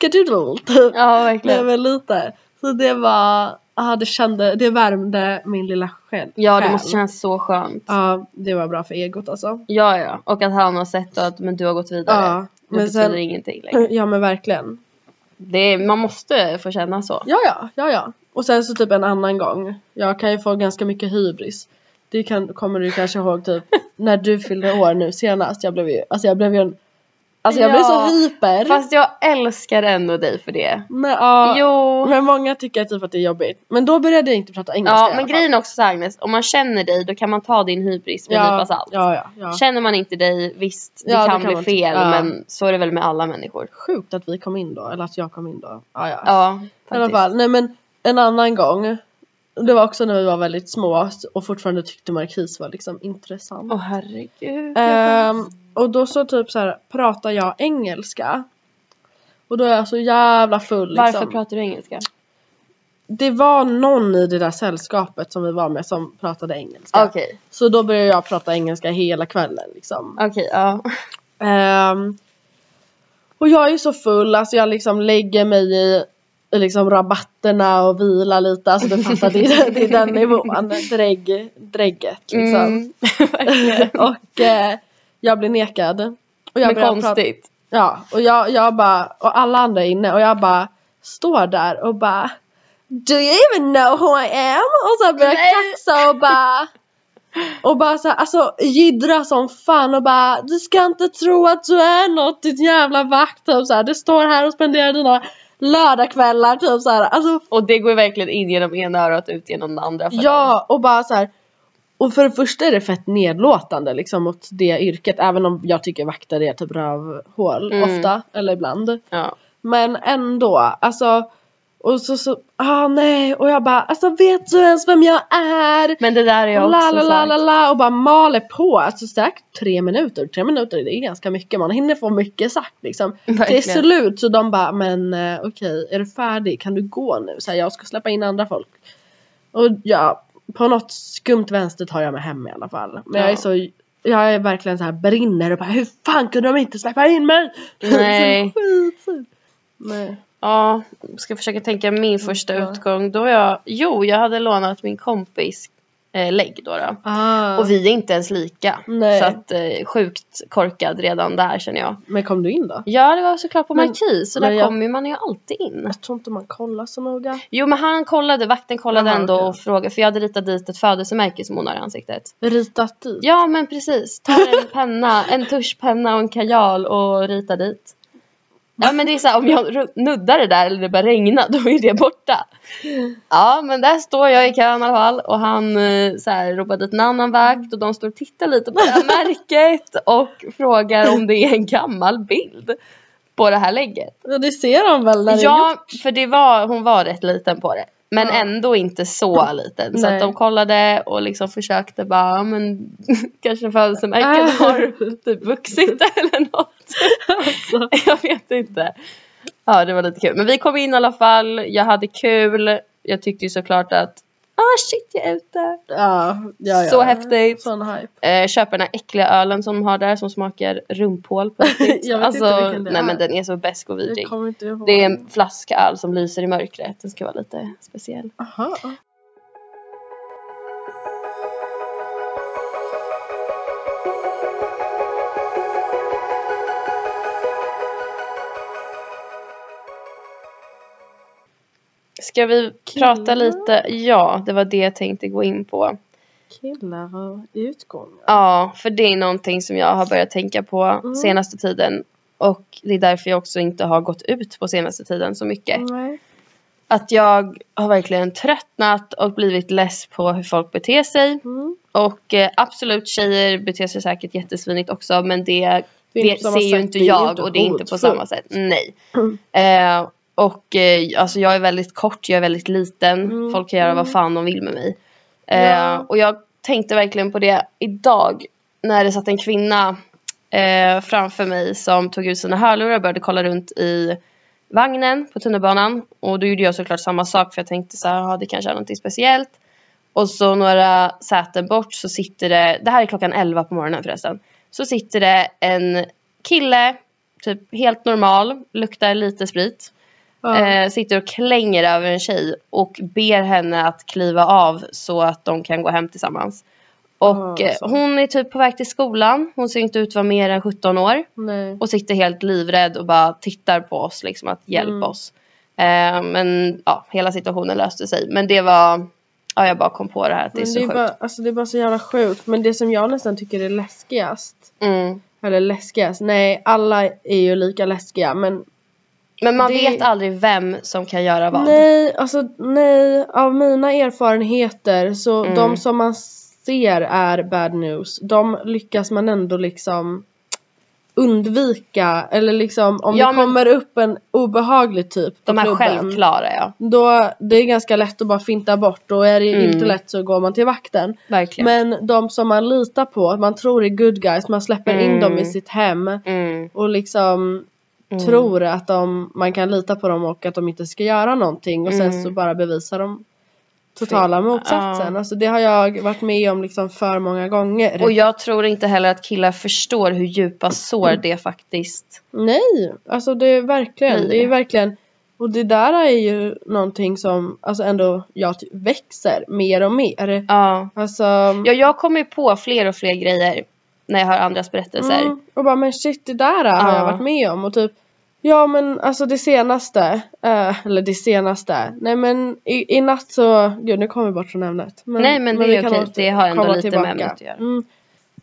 [SPEAKER 1] Skedoodle typ.
[SPEAKER 2] Ja,
[SPEAKER 1] Nej
[SPEAKER 2] verkligen.
[SPEAKER 1] men lite. Så det var, ja det kände, det värmde min lilla själ.
[SPEAKER 2] Ja, det
[SPEAKER 1] själ.
[SPEAKER 2] måste kännas så skönt.
[SPEAKER 1] Ja, det var bra för egot alltså.
[SPEAKER 2] Ja, ja. Och att han har sett att men du har gått vidare.
[SPEAKER 1] Ja,
[SPEAKER 2] det
[SPEAKER 1] men
[SPEAKER 2] betyder
[SPEAKER 1] sen-
[SPEAKER 2] ingenting längre.
[SPEAKER 1] Ja men verkligen.
[SPEAKER 2] Det är, man måste få känna så.
[SPEAKER 1] Ja, ja, ja, ja. Och sen så typ en annan gång. Jag kan ju få ganska mycket hybris. Det kan, kommer du kanske ihåg typ när du fyllde år nu senast. Jag blev ju, alltså jag blev ju en, alltså jag blev
[SPEAKER 2] Ja,
[SPEAKER 1] så hyper.
[SPEAKER 2] Fast jag älskar ändå dig för det.
[SPEAKER 1] Men, ja,
[SPEAKER 2] Jo.
[SPEAKER 1] men många tycker typ att det är jobbigt. Men då började jag inte prata engelska i
[SPEAKER 2] Ja,
[SPEAKER 1] alla
[SPEAKER 2] men
[SPEAKER 1] fall.
[SPEAKER 2] grejen är också så här, Agnes, om man känner dig då kan man ta din hybris med en nypa
[SPEAKER 1] ja,
[SPEAKER 2] salt.
[SPEAKER 1] ja, ja, ja.
[SPEAKER 2] Känner man inte dig, visst det
[SPEAKER 1] Ja,
[SPEAKER 2] kan
[SPEAKER 1] då kan
[SPEAKER 2] bli
[SPEAKER 1] man inte-
[SPEAKER 2] fel
[SPEAKER 1] ja.
[SPEAKER 2] men så är det väl med alla människor.
[SPEAKER 1] Sjukt att vi kom in då, eller att jag kom in då. Ja, ja.
[SPEAKER 2] Ja,
[SPEAKER 1] I alla
[SPEAKER 2] faktiskt.
[SPEAKER 1] fall, nej men en annan gång. Det var också när vi var väldigt små och fortfarande tyckte Marquis var liksom intressant.
[SPEAKER 2] Åh herregud. jag
[SPEAKER 1] Ehm, och då så typ så här pratar jag engelska. Och då är jag så jävla full
[SPEAKER 2] skäms. Varför
[SPEAKER 1] liksom.
[SPEAKER 2] pratar du engelska?
[SPEAKER 1] Det var någon i det där sällskapet som vi var med som pratade engelska.
[SPEAKER 2] Okej,
[SPEAKER 1] Så då började jag prata engelska hela kvällen liksom.
[SPEAKER 2] okej ja.
[SPEAKER 1] Ehm, och jag är så full, alltså jag liksom lägger mig i i liksom rabatterna och vilar lite, alltså du fattar det är, det är den nivån, drägg, drägget liksom.
[SPEAKER 2] Mm. verkligen.
[SPEAKER 1] och eh, jag blir nekad. Och jag
[SPEAKER 2] men
[SPEAKER 1] börjar prata-
[SPEAKER 2] konstigt.
[SPEAKER 1] Ja, och jag, jag bara, och alla andra är inne och jag bara står där och bara Do you even know who I am? Och så börjar
[SPEAKER 2] Nej.
[SPEAKER 1] jag kaxa och bara och bara så här, alltså jiddra som fan och bara Du ska inte tro att du är något ditt jävla vakt typ så här. Du står här och spenderar dina lördagskvällar typ så här. Alltså
[SPEAKER 2] Och det går ju verkligen in genom ena örat och ut genom det andra. för dem.
[SPEAKER 1] ja och bara så här. Och för det första är det fett nedlåtande liksom mot det yrket även om jag tycker vakter är typ rövhål
[SPEAKER 2] Mm.
[SPEAKER 1] ofta eller ibland.
[SPEAKER 2] ja.
[SPEAKER 1] Men ändå, alltså och så så, ah nej och jag bara alltså vet du ens vem jag är?
[SPEAKER 2] Men det där är jag
[SPEAKER 1] Och la
[SPEAKER 2] också
[SPEAKER 1] la
[SPEAKER 2] sagt.
[SPEAKER 1] la la la och bara maler på alltså säkert tre minuter, tre minuter det är ganska mycket man hinner få mycket sagt liksom.
[SPEAKER 2] Verkligen.
[SPEAKER 1] Till slut så de bara men eh, okej är du färdig kan du gå nu? Så här, jag ska släppa in andra folk. Och ja, på något skumt vänster tar jag mig hem i alla fall. Men jag
[SPEAKER 2] Ja.
[SPEAKER 1] är så jag är verkligen så här brinner och bara hur fan kunde de inte släppa in mig?
[SPEAKER 2] Nej.
[SPEAKER 1] Så skitsur. Nej.
[SPEAKER 2] Ja, ska försöka tänka min första
[SPEAKER 1] Ja.
[SPEAKER 2] utgång. Då var jag, jo, jag hade lånat min kompis eh, lägg då. då.
[SPEAKER 1] Ah.
[SPEAKER 2] Och vi är inte ens lika.
[SPEAKER 1] Nej.
[SPEAKER 2] Så att eh, sjukt korkad redan där känner jag.
[SPEAKER 1] Men kom du in då?
[SPEAKER 2] Ja, det var såklart på
[SPEAKER 1] Men-
[SPEAKER 2] Markis. Så
[SPEAKER 1] men
[SPEAKER 2] där
[SPEAKER 1] jag-
[SPEAKER 2] kommer man ju alltid in.
[SPEAKER 1] Jag tror inte man kollar så noga.
[SPEAKER 2] Jo, men han kollade, vakten kollade
[SPEAKER 1] Jaha,
[SPEAKER 2] ändå
[SPEAKER 1] okej.
[SPEAKER 2] och frågade. För jag hade ritat dit ett födelsemärke som hon har i ansiktet.
[SPEAKER 1] Ritat dit?
[SPEAKER 2] Ja, men precis. Ta en penna, en tuschpenna och en kajal och rita dit. Ja, men det är så här, om jag ru- nuddar det där eller det börjar regna, då är det borta. Ja, men där står jag i kön i alla fall och han eh, så här, ropar dit en annan vakt och de står och tittar lite på det här märket och frågar om det är en gammal bild på det här lägget.
[SPEAKER 1] Ja det ser de väl när det är gjort.
[SPEAKER 2] Ja, för det var, hon var rätt liten på det. Men
[SPEAKER 1] Ja.
[SPEAKER 2] ändå inte så liten. Så
[SPEAKER 1] Nej.
[SPEAKER 2] att de kollade och liksom försökte bara, ja, men kanske födelsemärken
[SPEAKER 1] Äh.
[SPEAKER 2] har typ vuxit eller något.
[SPEAKER 1] Alltså.
[SPEAKER 2] Jag vet inte. Ja, det var lite kul. Men vi kom in i alla fall, jag hade kul. Jag tyckte ju såklart att, ah shit jag är ute.
[SPEAKER 1] Ja, ja, ja.
[SPEAKER 2] Så häftigt.
[SPEAKER 1] Sån hype.
[SPEAKER 2] Eh, köpa den här äckliga ölen som de har där som smakar rumphål på riktigt.
[SPEAKER 1] Jag vet
[SPEAKER 2] alltså,
[SPEAKER 1] inte vilken det
[SPEAKER 2] nej
[SPEAKER 1] är.
[SPEAKER 2] men den är så besk och vidrig.
[SPEAKER 1] Jag kommer inte ihåg.
[SPEAKER 2] Det är en flaska öl som lyser i mörkret. Den ska vara lite speciell.
[SPEAKER 1] Aha.
[SPEAKER 2] Ska vi
[SPEAKER 1] Killar?
[SPEAKER 2] prata lite? Ja, det var det jag tänkte gå in på.
[SPEAKER 1] Killar och utgångar.
[SPEAKER 2] Ja, för det är någonting som jag har börjat tänka på
[SPEAKER 1] Mm.
[SPEAKER 2] senaste tiden. Och det är därför jag också inte har gått ut på senaste tiden så mycket.
[SPEAKER 1] Nej.
[SPEAKER 2] Att jag har verkligen tröttnat och blivit less på hur folk beter sig.
[SPEAKER 1] Mm.
[SPEAKER 2] Och eh, absolut, tjejer beter sig säkert jättesvinigt också men det,
[SPEAKER 1] Det
[SPEAKER 2] det,
[SPEAKER 1] är inte på samma
[SPEAKER 2] ser ju
[SPEAKER 1] sätt.
[SPEAKER 2] inte
[SPEAKER 1] Det är ju
[SPEAKER 2] jag
[SPEAKER 1] inte
[SPEAKER 2] och det är inte på
[SPEAKER 1] hotfullt.
[SPEAKER 2] samma sätt. Nej.
[SPEAKER 1] Mm.
[SPEAKER 2] Eh, och eh, alltså jag är väldigt kort, jag är väldigt liten.
[SPEAKER 1] Mm,
[SPEAKER 2] Folk kan göra vad
[SPEAKER 1] mm.
[SPEAKER 2] fan de vill med mig. Eh,
[SPEAKER 1] Ja.
[SPEAKER 2] Och jag tänkte verkligen på det idag när det satt en kvinna eh, framför mig som tog ut sina hörlurar och började kolla runt i vagnen på tunnelbanan. Och då gjorde jag såklart samma sak för jag tänkte så här, "Jaha, det kanske är någonting speciellt. Och så några säten bort så sitter det, det här är klockan 11 på morgonen förresten. Så sitter det en kille, typ helt normal, luktar lite sprit.
[SPEAKER 1] Ja.
[SPEAKER 2] Eh, sitter och klänger över en tjej och ber henne att kliva av så att de kan gå hem tillsammans. Och
[SPEAKER 1] Ja,
[SPEAKER 2] eh,
[SPEAKER 1] så.
[SPEAKER 2] hon är typ på väg till skolan. Hon ser inte ut att vara mer än 17 år.
[SPEAKER 1] Nej.
[SPEAKER 2] Och sitter helt livrädd och bara tittar på oss liksom att hjälpa
[SPEAKER 1] Mm.
[SPEAKER 2] oss. Eh, men ja, hela situationen löste sig. Men det var, ja jag bara kom på det här att det är
[SPEAKER 1] Men
[SPEAKER 2] så
[SPEAKER 1] det, är
[SPEAKER 2] sjukt.
[SPEAKER 1] bara, alltså det är bara så jävla sjukt. Men det som jag nästan tycker är läskigast.
[SPEAKER 2] Mm.
[SPEAKER 1] Eller läskigast. Nej, alla är ju lika läskiga. Men
[SPEAKER 2] Men man
[SPEAKER 1] Det-
[SPEAKER 2] vet aldrig vem som kan göra vad.
[SPEAKER 1] nej, alltså nej. Av mina erfarenheter så
[SPEAKER 2] Mm.
[SPEAKER 1] de som man ser är bad news. De lyckas man ändå liksom undvika. Eller liksom om
[SPEAKER 2] Ja,
[SPEAKER 1] det
[SPEAKER 2] men-
[SPEAKER 1] kommer upp en obehaglig typ på
[SPEAKER 2] De är
[SPEAKER 1] klubben.
[SPEAKER 2] självklara ja.
[SPEAKER 1] Då det är ganska lätt att bara finta bort. Och är det
[SPEAKER 2] Mm.
[SPEAKER 1] inte lätt så går man till vakten.
[SPEAKER 2] Verkligen.
[SPEAKER 1] Men de som man litar på, att man tror är good guys, man släpper in
[SPEAKER 2] Mm.
[SPEAKER 1] dem i sitt hem
[SPEAKER 2] Mm.
[SPEAKER 1] och liksom
[SPEAKER 2] Mm.
[SPEAKER 1] tror att de, man kan lita på dem och att de inte ska göra någonting och sen
[SPEAKER 2] Mm.
[SPEAKER 1] så bara bevisar de totala motsatsen.
[SPEAKER 2] Ja.
[SPEAKER 1] Alltså det har jag varit med om liksom för många gånger.
[SPEAKER 2] Och jag tror inte heller att killar förstår hur djupa sår
[SPEAKER 1] Mm.
[SPEAKER 2] det faktiskt.
[SPEAKER 1] Nej, alltså det är verkligen,
[SPEAKER 2] Nej.
[SPEAKER 1] det är verkligen och det där är ju någonting som alltså ändå jag ty- växer mer och mer.
[SPEAKER 2] Ja.
[SPEAKER 1] Alltså
[SPEAKER 2] ja jag kommer ju på fler och fler grejer när jag hör andras berättelser.
[SPEAKER 1] Mm, och bara men shit det där har
[SPEAKER 2] Ja.
[SPEAKER 1] jag varit med om och typ Ja men alltså det senaste, eh, eller det senaste, nej men i, i natt så, gud nu kommer vi bort från ämnet. Men,
[SPEAKER 2] Nej, men det
[SPEAKER 1] vi
[SPEAKER 2] är
[SPEAKER 1] kan
[SPEAKER 2] okej.
[SPEAKER 1] åter-
[SPEAKER 2] Det har ändå
[SPEAKER 1] komma
[SPEAKER 2] lite med ämnet att göra.
[SPEAKER 1] Mm.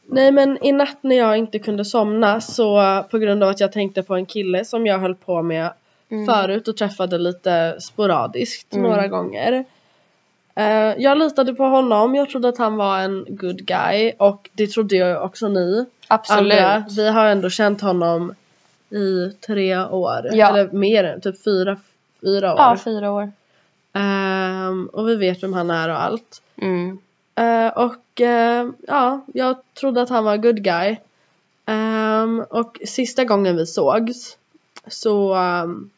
[SPEAKER 1] Nej men i natt när jag inte kunde somna så på grund av att jag tänkte på en kille som jag höll på med
[SPEAKER 2] Mm.
[SPEAKER 1] förut och träffade lite sporadiskt
[SPEAKER 2] Mm.
[SPEAKER 1] några gånger. Eh, jag litade på honom, jag trodde att han var en good guy och det trodde jag också ni
[SPEAKER 2] Absolut.
[SPEAKER 1] andra. Vi har ändå känt honom i tre år.
[SPEAKER 2] Ja.
[SPEAKER 1] Eller mer än typ fyra, fyra år.
[SPEAKER 2] Ja, fyra år.
[SPEAKER 1] Ehm, och vi vet vem han är och allt.
[SPEAKER 2] Mm.
[SPEAKER 1] Eh, och eh, ja, jag trodde att han var good guy. Ehm, och sista gången vi sågs så ehm,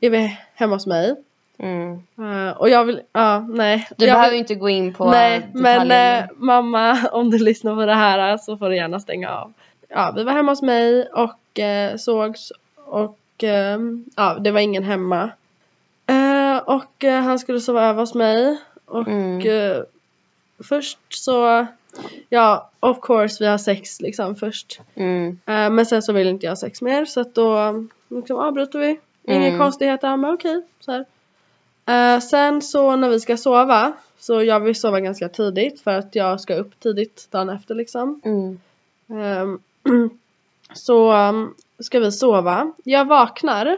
[SPEAKER 1] är vi hemma hos mig.
[SPEAKER 2] Mm.
[SPEAKER 1] Eh, och jag vill, ja nej.
[SPEAKER 2] Du
[SPEAKER 1] jag
[SPEAKER 2] behöver
[SPEAKER 1] vill,
[SPEAKER 2] inte gå in på
[SPEAKER 1] Nej men
[SPEAKER 2] detaljerna.
[SPEAKER 1] eh, mamma om du lyssnar på det här eh, så får du gärna stänga av. Ja vi var hemma hos mig och eh, sågs och eh, ja det var ingen hemma. Eh, och eh, han skulle sova över hos mig och
[SPEAKER 2] Mm.
[SPEAKER 1] eh, först så ja of course vi har sex liksom först.
[SPEAKER 2] Mm.
[SPEAKER 1] Eh, men sen så vill inte jag ha sex mer så att då mm, liksom avbryter vi. Inga
[SPEAKER 2] Mm.
[SPEAKER 1] konstigheter, han bara okej. så här. Eh, sen så när vi ska sova, så jag vill sova ganska tidigt för att jag ska upp tidigt dagen efter liksom.
[SPEAKER 2] Mm.
[SPEAKER 1] Ehm, så um, ska vi sova. Jag vaknar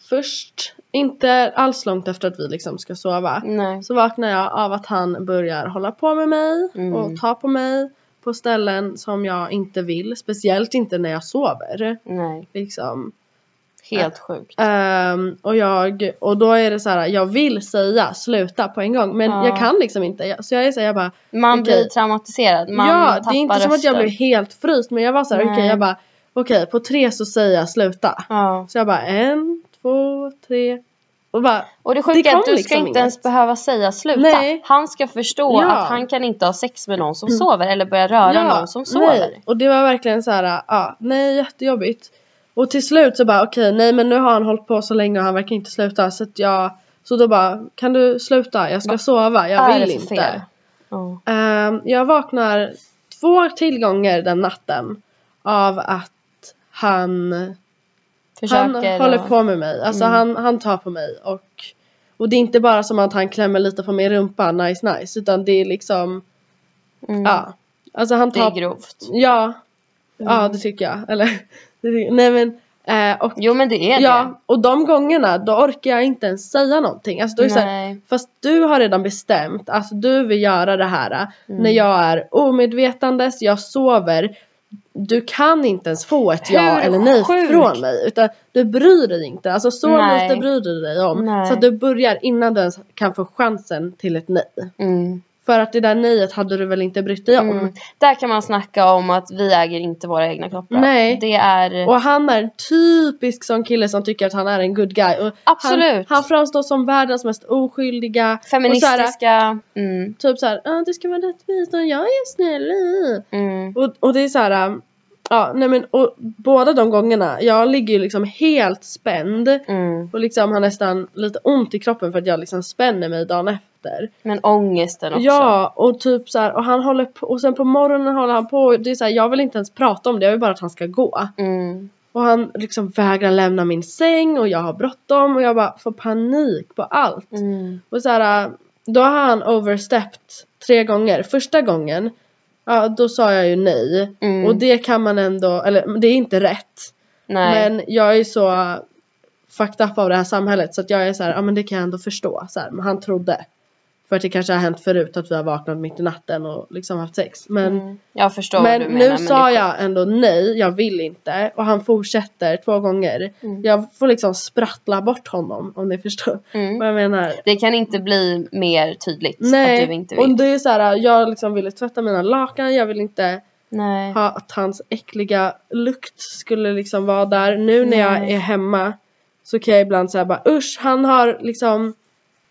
[SPEAKER 1] först, inte alls långt efter att vi liksom ska sova.
[SPEAKER 2] Nej.
[SPEAKER 1] Så vaknar jag av att han börjar hålla på med mig
[SPEAKER 2] Mm.
[SPEAKER 1] och ta på mig på ställen som jag inte vill. Speciellt inte när jag sover.
[SPEAKER 2] Nej.
[SPEAKER 1] Liksom.
[SPEAKER 2] Helt sjukt.
[SPEAKER 1] Ehm, och, jag, och då är det så här, jag vill säga sluta på en gång men
[SPEAKER 2] Ja.
[SPEAKER 1] jag kan liksom inte. Jag- Så jag är så här, jag bara
[SPEAKER 2] Man
[SPEAKER 1] okej.
[SPEAKER 2] blir traumatiserad. Man
[SPEAKER 1] ja
[SPEAKER 2] tappar
[SPEAKER 1] det är inte som att jag
[SPEAKER 2] rösten.
[SPEAKER 1] blev helt fryst men jag var så här
[SPEAKER 2] Nej.
[SPEAKER 1] okej jag bara okej på tre så säger jag sluta.
[SPEAKER 2] Ja.
[SPEAKER 1] Så jag bara en, två, tre och bara
[SPEAKER 2] Och det
[SPEAKER 1] Det
[SPEAKER 2] sjuka är att
[SPEAKER 1] kom
[SPEAKER 2] du ska
[SPEAKER 1] liksom
[SPEAKER 2] inte
[SPEAKER 1] inget.
[SPEAKER 2] ens behöva säga sluta.
[SPEAKER 1] Nej.
[SPEAKER 2] Han ska förstå
[SPEAKER 1] Ja. Mm.
[SPEAKER 2] att han kan inte ha sex med någon som sover eller börja röra någon som sover.
[SPEAKER 1] Nej. Och det var verkligen så här, ja, nej jättejobbigt. Och till slut så bara okej, nej men nu har han hållit på så länge och han verkar inte sluta så att jag Så då bara, kan du sluta? Jag ska sova, jag
[SPEAKER 2] Vad är
[SPEAKER 1] vill
[SPEAKER 2] det för
[SPEAKER 1] inte.
[SPEAKER 2] fel? Ja.
[SPEAKER 1] Ehm, jag vaknar två till gånger den natten av att han, han
[SPEAKER 2] Försöker
[SPEAKER 1] håller
[SPEAKER 2] och-
[SPEAKER 1] på med mig. Alltså
[SPEAKER 2] Mm.
[SPEAKER 1] han, han tar på mig och och det är inte bara som att han klämmer lite på min rumpa, nice nice, utan det är liksom,
[SPEAKER 2] Mm.
[SPEAKER 1] ja. Alltså han
[SPEAKER 2] Det är
[SPEAKER 1] tar
[SPEAKER 2] grovt.
[SPEAKER 1] Ja.
[SPEAKER 2] Mm.
[SPEAKER 1] Ja det tycker jag. Eller, det tycker, nej men. Eh, och,
[SPEAKER 2] Jo men det är det.
[SPEAKER 1] ja, och de gångerna då orkar jag inte ens säga någonting. Alltså, då är det så här,
[SPEAKER 2] Nej.
[SPEAKER 1] fast du har redan bestämt att du vill göra det här eh,
[SPEAKER 2] Mm.
[SPEAKER 1] när jag är omedvetandes, jag sover. Du kan inte ens få ett ja
[SPEAKER 2] Hur
[SPEAKER 1] eller nej
[SPEAKER 2] sjukt?
[SPEAKER 1] från mig. Utan du bryr dig inte. Alltså så
[SPEAKER 2] Nej.
[SPEAKER 1] lite bryr du dig om.
[SPEAKER 2] Nej.
[SPEAKER 1] Så att du börjar innan du ens kan få chansen till ett nej.
[SPEAKER 2] Mm.
[SPEAKER 1] För att det där nejet hade du väl inte brytt dig om.
[SPEAKER 2] Mm. Där kan man snacka om att vi äger inte våra egna kroppar.
[SPEAKER 1] Nej.
[SPEAKER 2] Det är...
[SPEAKER 1] Och han är en typisk sån kille som tycker att han är en good guy. Och Han,
[SPEAKER 2] Absolut.
[SPEAKER 1] han framstår som världens mest oskyldiga. Och så
[SPEAKER 2] Feministiska. Mm.
[SPEAKER 1] här, typ såhär, ah, det ska vara rättvist och jag är snäll.
[SPEAKER 2] Mm.
[SPEAKER 1] Och, och det är så här. um, Ja, nej men och båda de gångerna, jag ligger ju liksom helt spänd
[SPEAKER 2] Mm.
[SPEAKER 1] och liksom har nästan lite ont i kroppen för att jag liksom spänner mig dagen efter.
[SPEAKER 2] Men ångesten också.
[SPEAKER 1] Ja, och typ så här, och han håller på, och sen på morgonen håller han på, och det är så här, jag vill inte ens prata om det, jag vill bara att han ska gå.
[SPEAKER 2] Mm.
[SPEAKER 1] Och han liksom vägrar lämna min säng och jag har bråttom och jag bara får panik på allt.
[SPEAKER 2] Mm.
[SPEAKER 1] Och så här, då har han overstepped tre gånger. Första gången, ja då sa jag ju nej.
[SPEAKER 2] Mm.
[SPEAKER 1] Och det kan man ändå, eller det är inte rätt.
[SPEAKER 2] Nej.
[SPEAKER 1] Men jag är så fucked up av det här samhället så att jag är så här, ja men det kan jag ändå förstå. Så här, men han trodde. För att det kanske har hänt förut att vi har vaknat mitt i natten och liksom haft sex. Men,
[SPEAKER 2] Mm. Jag förstår
[SPEAKER 1] men
[SPEAKER 2] vad du
[SPEAKER 1] nu
[SPEAKER 2] menar.
[SPEAKER 1] sa
[SPEAKER 2] det-
[SPEAKER 1] jag ändå nej, jag vill inte. Och han fortsätter två gånger.
[SPEAKER 2] Mm.
[SPEAKER 1] Jag får liksom sprattla bort honom om ni förstår
[SPEAKER 2] Mm.
[SPEAKER 1] vad jag menar.
[SPEAKER 2] Det kan inte bli mer tydligt
[SPEAKER 1] Nej,
[SPEAKER 2] att du inte vill.
[SPEAKER 1] och det är så här, jag liksom ville tvätta mina lakan, jag ville inte
[SPEAKER 2] Nej.
[SPEAKER 1] ha att hans äckliga lukt skulle liksom vara där. Nu när jag
[SPEAKER 2] Nej.
[SPEAKER 1] är hemma så kan jag ibland säga bara usch, han har liksom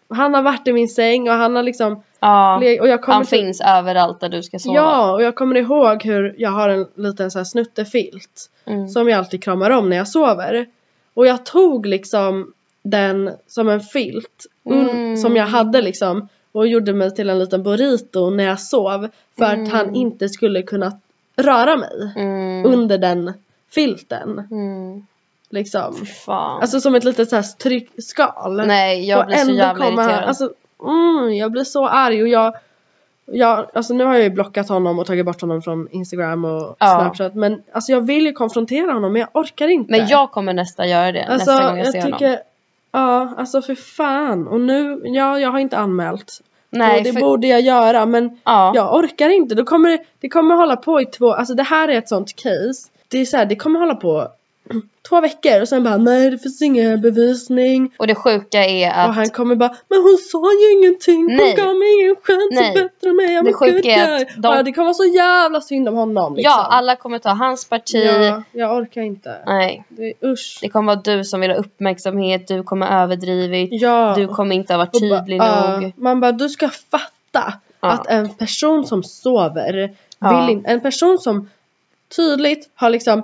[SPEAKER 1] han har varit i min säng och han har liksom
[SPEAKER 2] Ja.
[SPEAKER 1] le- och jag kommer
[SPEAKER 2] Han finns överallt där du ska sova.
[SPEAKER 1] Ja, och jag kommer ihåg hur jag har en liten så här snuttefilt
[SPEAKER 2] Mm.
[SPEAKER 1] som jag alltid kramar om när jag sover. Och jag tog liksom den som en filt un-
[SPEAKER 2] Mm.
[SPEAKER 1] som jag hade liksom och gjorde mig till en liten burrito när jag sov för att
[SPEAKER 2] Mm.
[SPEAKER 1] han inte skulle kunna röra mig
[SPEAKER 2] Mm.
[SPEAKER 1] under den filten
[SPEAKER 2] Mm.
[SPEAKER 1] liksom.
[SPEAKER 2] Fy fan.
[SPEAKER 1] Alltså som ett litet så här tryckskal.
[SPEAKER 2] Nej, jag
[SPEAKER 1] Och
[SPEAKER 2] blir så
[SPEAKER 1] ändå
[SPEAKER 2] jävla
[SPEAKER 1] kommer han-
[SPEAKER 2] irriterad.
[SPEAKER 1] Alltså, mm, jag blir så arg och jag, jag, alltså nu har jag ju blockat honom och tagit bort honom från Instagram och
[SPEAKER 2] Ja.
[SPEAKER 1] Snapchat men alltså jag vill ju konfrontera honom men jag orkar inte.
[SPEAKER 2] Men jag kommer nästa göra det.
[SPEAKER 1] alltså,
[SPEAKER 2] nästa gång jag, ser honom.
[SPEAKER 1] tycker, ja alltså för fan och nu, ja jag har inte anmält. och det
[SPEAKER 2] Nej, för,
[SPEAKER 1] borde jag göra men
[SPEAKER 2] ja.
[SPEAKER 1] jag orkar inte. Då kommer det, det kommer hålla på i två, alltså det här är ett sånt case. Det är så här, det kommer hålla på två veckor och sen bara nej det finns ingen bevisning
[SPEAKER 2] Och det sjuka är
[SPEAKER 1] och
[SPEAKER 2] att
[SPEAKER 1] han kommer bara Men hon sa ju ingenting, hon
[SPEAKER 2] Nej.
[SPEAKER 1] gav mig ingen chans
[SPEAKER 2] Nej.
[SPEAKER 1] att bättra mig jag
[SPEAKER 2] Det
[SPEAKER 1] var
[SPEAKER 2] sjuka
[SPEAKER 1] good
[SPEAKER 2] är
[SPEAKER 1] guy."
[SPEAKER 2] att de-
[SPEAKER 1] ja, Det kommer vara så jävla synd om honom liksom.
[SPEAKER 2] ja, alla kommer ta hans parti.
[SPEAKER 1] ja, Jag orkar inte
[SPEAKER 2] Nej,
[SPEAKER 1] det, Usch
[SPEAKER 2] det kommer vara du som vill ha uppmärksamhet, du kommer ha överdrivit,
[SPEAKER 1] ja.
[SPEAKER 2] du kommer inte ha varit
[SPEAKER 1] Och bara,
[SPEAKER 2] tydlig
[SPEAKER 1] ja.
[SPEAKER 2] nog.
[SPEAKER 1] Man bara du ska fatta
[SPEAKER 2] Ja.
[SPEAKER 1] Att en person som sover
[SPEAKER 2] Ja.
[SPEAKER 1] vill in, En person som tydligt har liksom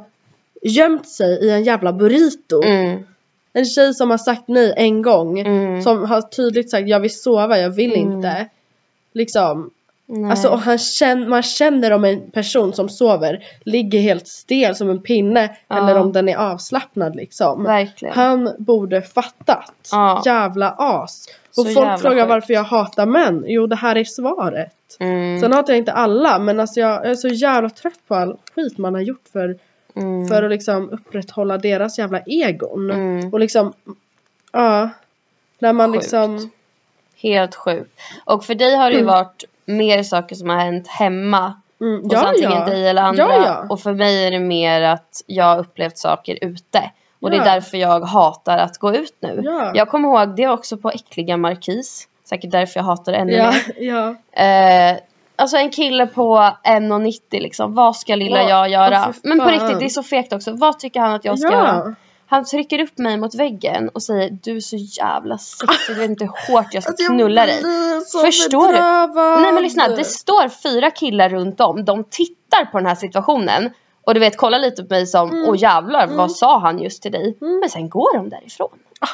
[SPEAKER 1] gömt sig i en jävla burrito
[SPEAKER 2] Mm,
[SPEAKER 1] En tjej som har sagt nej en gång
[SPEAKER 2] mm,
[SPEAKER 1] Som har tydligt sagt jag vill sova, jag vill
[SPEAKER 2] Mm.
[SPEAKER 1] inte Liksom
[SPEAKER 2] nej.
[SPEAKER 1] Alltså och han känner, man känner om en person som sover ligger helt stel som en pinne
[SPEAKER 2] Ja.
[SPEAKER 1] eller om den är avslappnad liksom.
[SPEAKER 2] Verkligen.
[SPEAKER 1] Han borde fattat.
[SPEAKER 2] Ja.
[SPEAKER 1] Jävla as. Och
[SPEAKER 2] Så jävla
[SPEAKER 1] folk frågar
[SPEAKER 2] sjukt.
[SPEAKER 1] varför jag hatar män. Jo det här är svaret.
[SPEAKER 2] Mm,
[SPEAKER 1] Sen hatar jag inte alla men alltså jag jag är så jävla trött på all skit man har gjort för,
[SPEAKER 2] mm,
[SPEAKER 1] för att liksom upprätthålla deras jävla egon.
[SPEAKER 2] mm.
[SPEAKER 1] Och liksom, ja. När man
[SPEAKER 2] Sjukt.
[SPEAKER 1] liksom,
[SPEAKER 2] Helt sjukt. Och för dig har det ju varit mer saker som har hänt hemma
[SPEAKER 1] mm,
[SPEAKER 2] Hos antingen dig eller andra.
[SPEAKER 1] Ja, ja.
[SPEAKER 2] Och för mig är det mer att jag har upplevt saker ute. Och det
[SPEAKER 1] Ja.
[SPEAKER 2] är därför jag hatar att gå ut nu.
[SPEAKER 1] Ja.
[SPEAKER 2] Jag kommer ihåg det också på äckliga markis. Säkert därför jag hatar det ännu
[SPEAKER 1] ja,
[SPEAKER 2] mer.
[SPEAKER 1] ja.
[SPEAKER 2] Eh, alltså en kille på 1,90 liksom. Vad ska lilla
[SPEAKER 1] Ja,
[SPEAKER 2] jag göra?
[SPEAKER 1] ja, för
[SPEAKER 2] Men på
[SPEAKER 1] fan.
[SPEAKER 2] riktigt, det är så fegt också. Vad tycker han att jag ska göra?
[SPEAKER 1] ja.
[SPEAKER 2] Han trycker upp mig mot väggen och säger du är så jävla sexig. Du vet inte hur hårt jag ska
[SPEAKER 1] Alltså, jag
[SPEAKER 2] knulla dig.
[SPEAKER 1] blir så
[SPEAKER 2] Förstår du?
[SPEAKER 1] bedrövad.
[SPEAKER 2] Nej men lyssna, det står fyra killar runt om. De tittar på den här situationen. Och du vet, kollar lite på mig som,
[SPEAKER 1] Mm.
[SPEAKER 2] åh jävlar, vad sa han just till dig? Men sen går de därifrån.
[SPEAKER 1] Ah.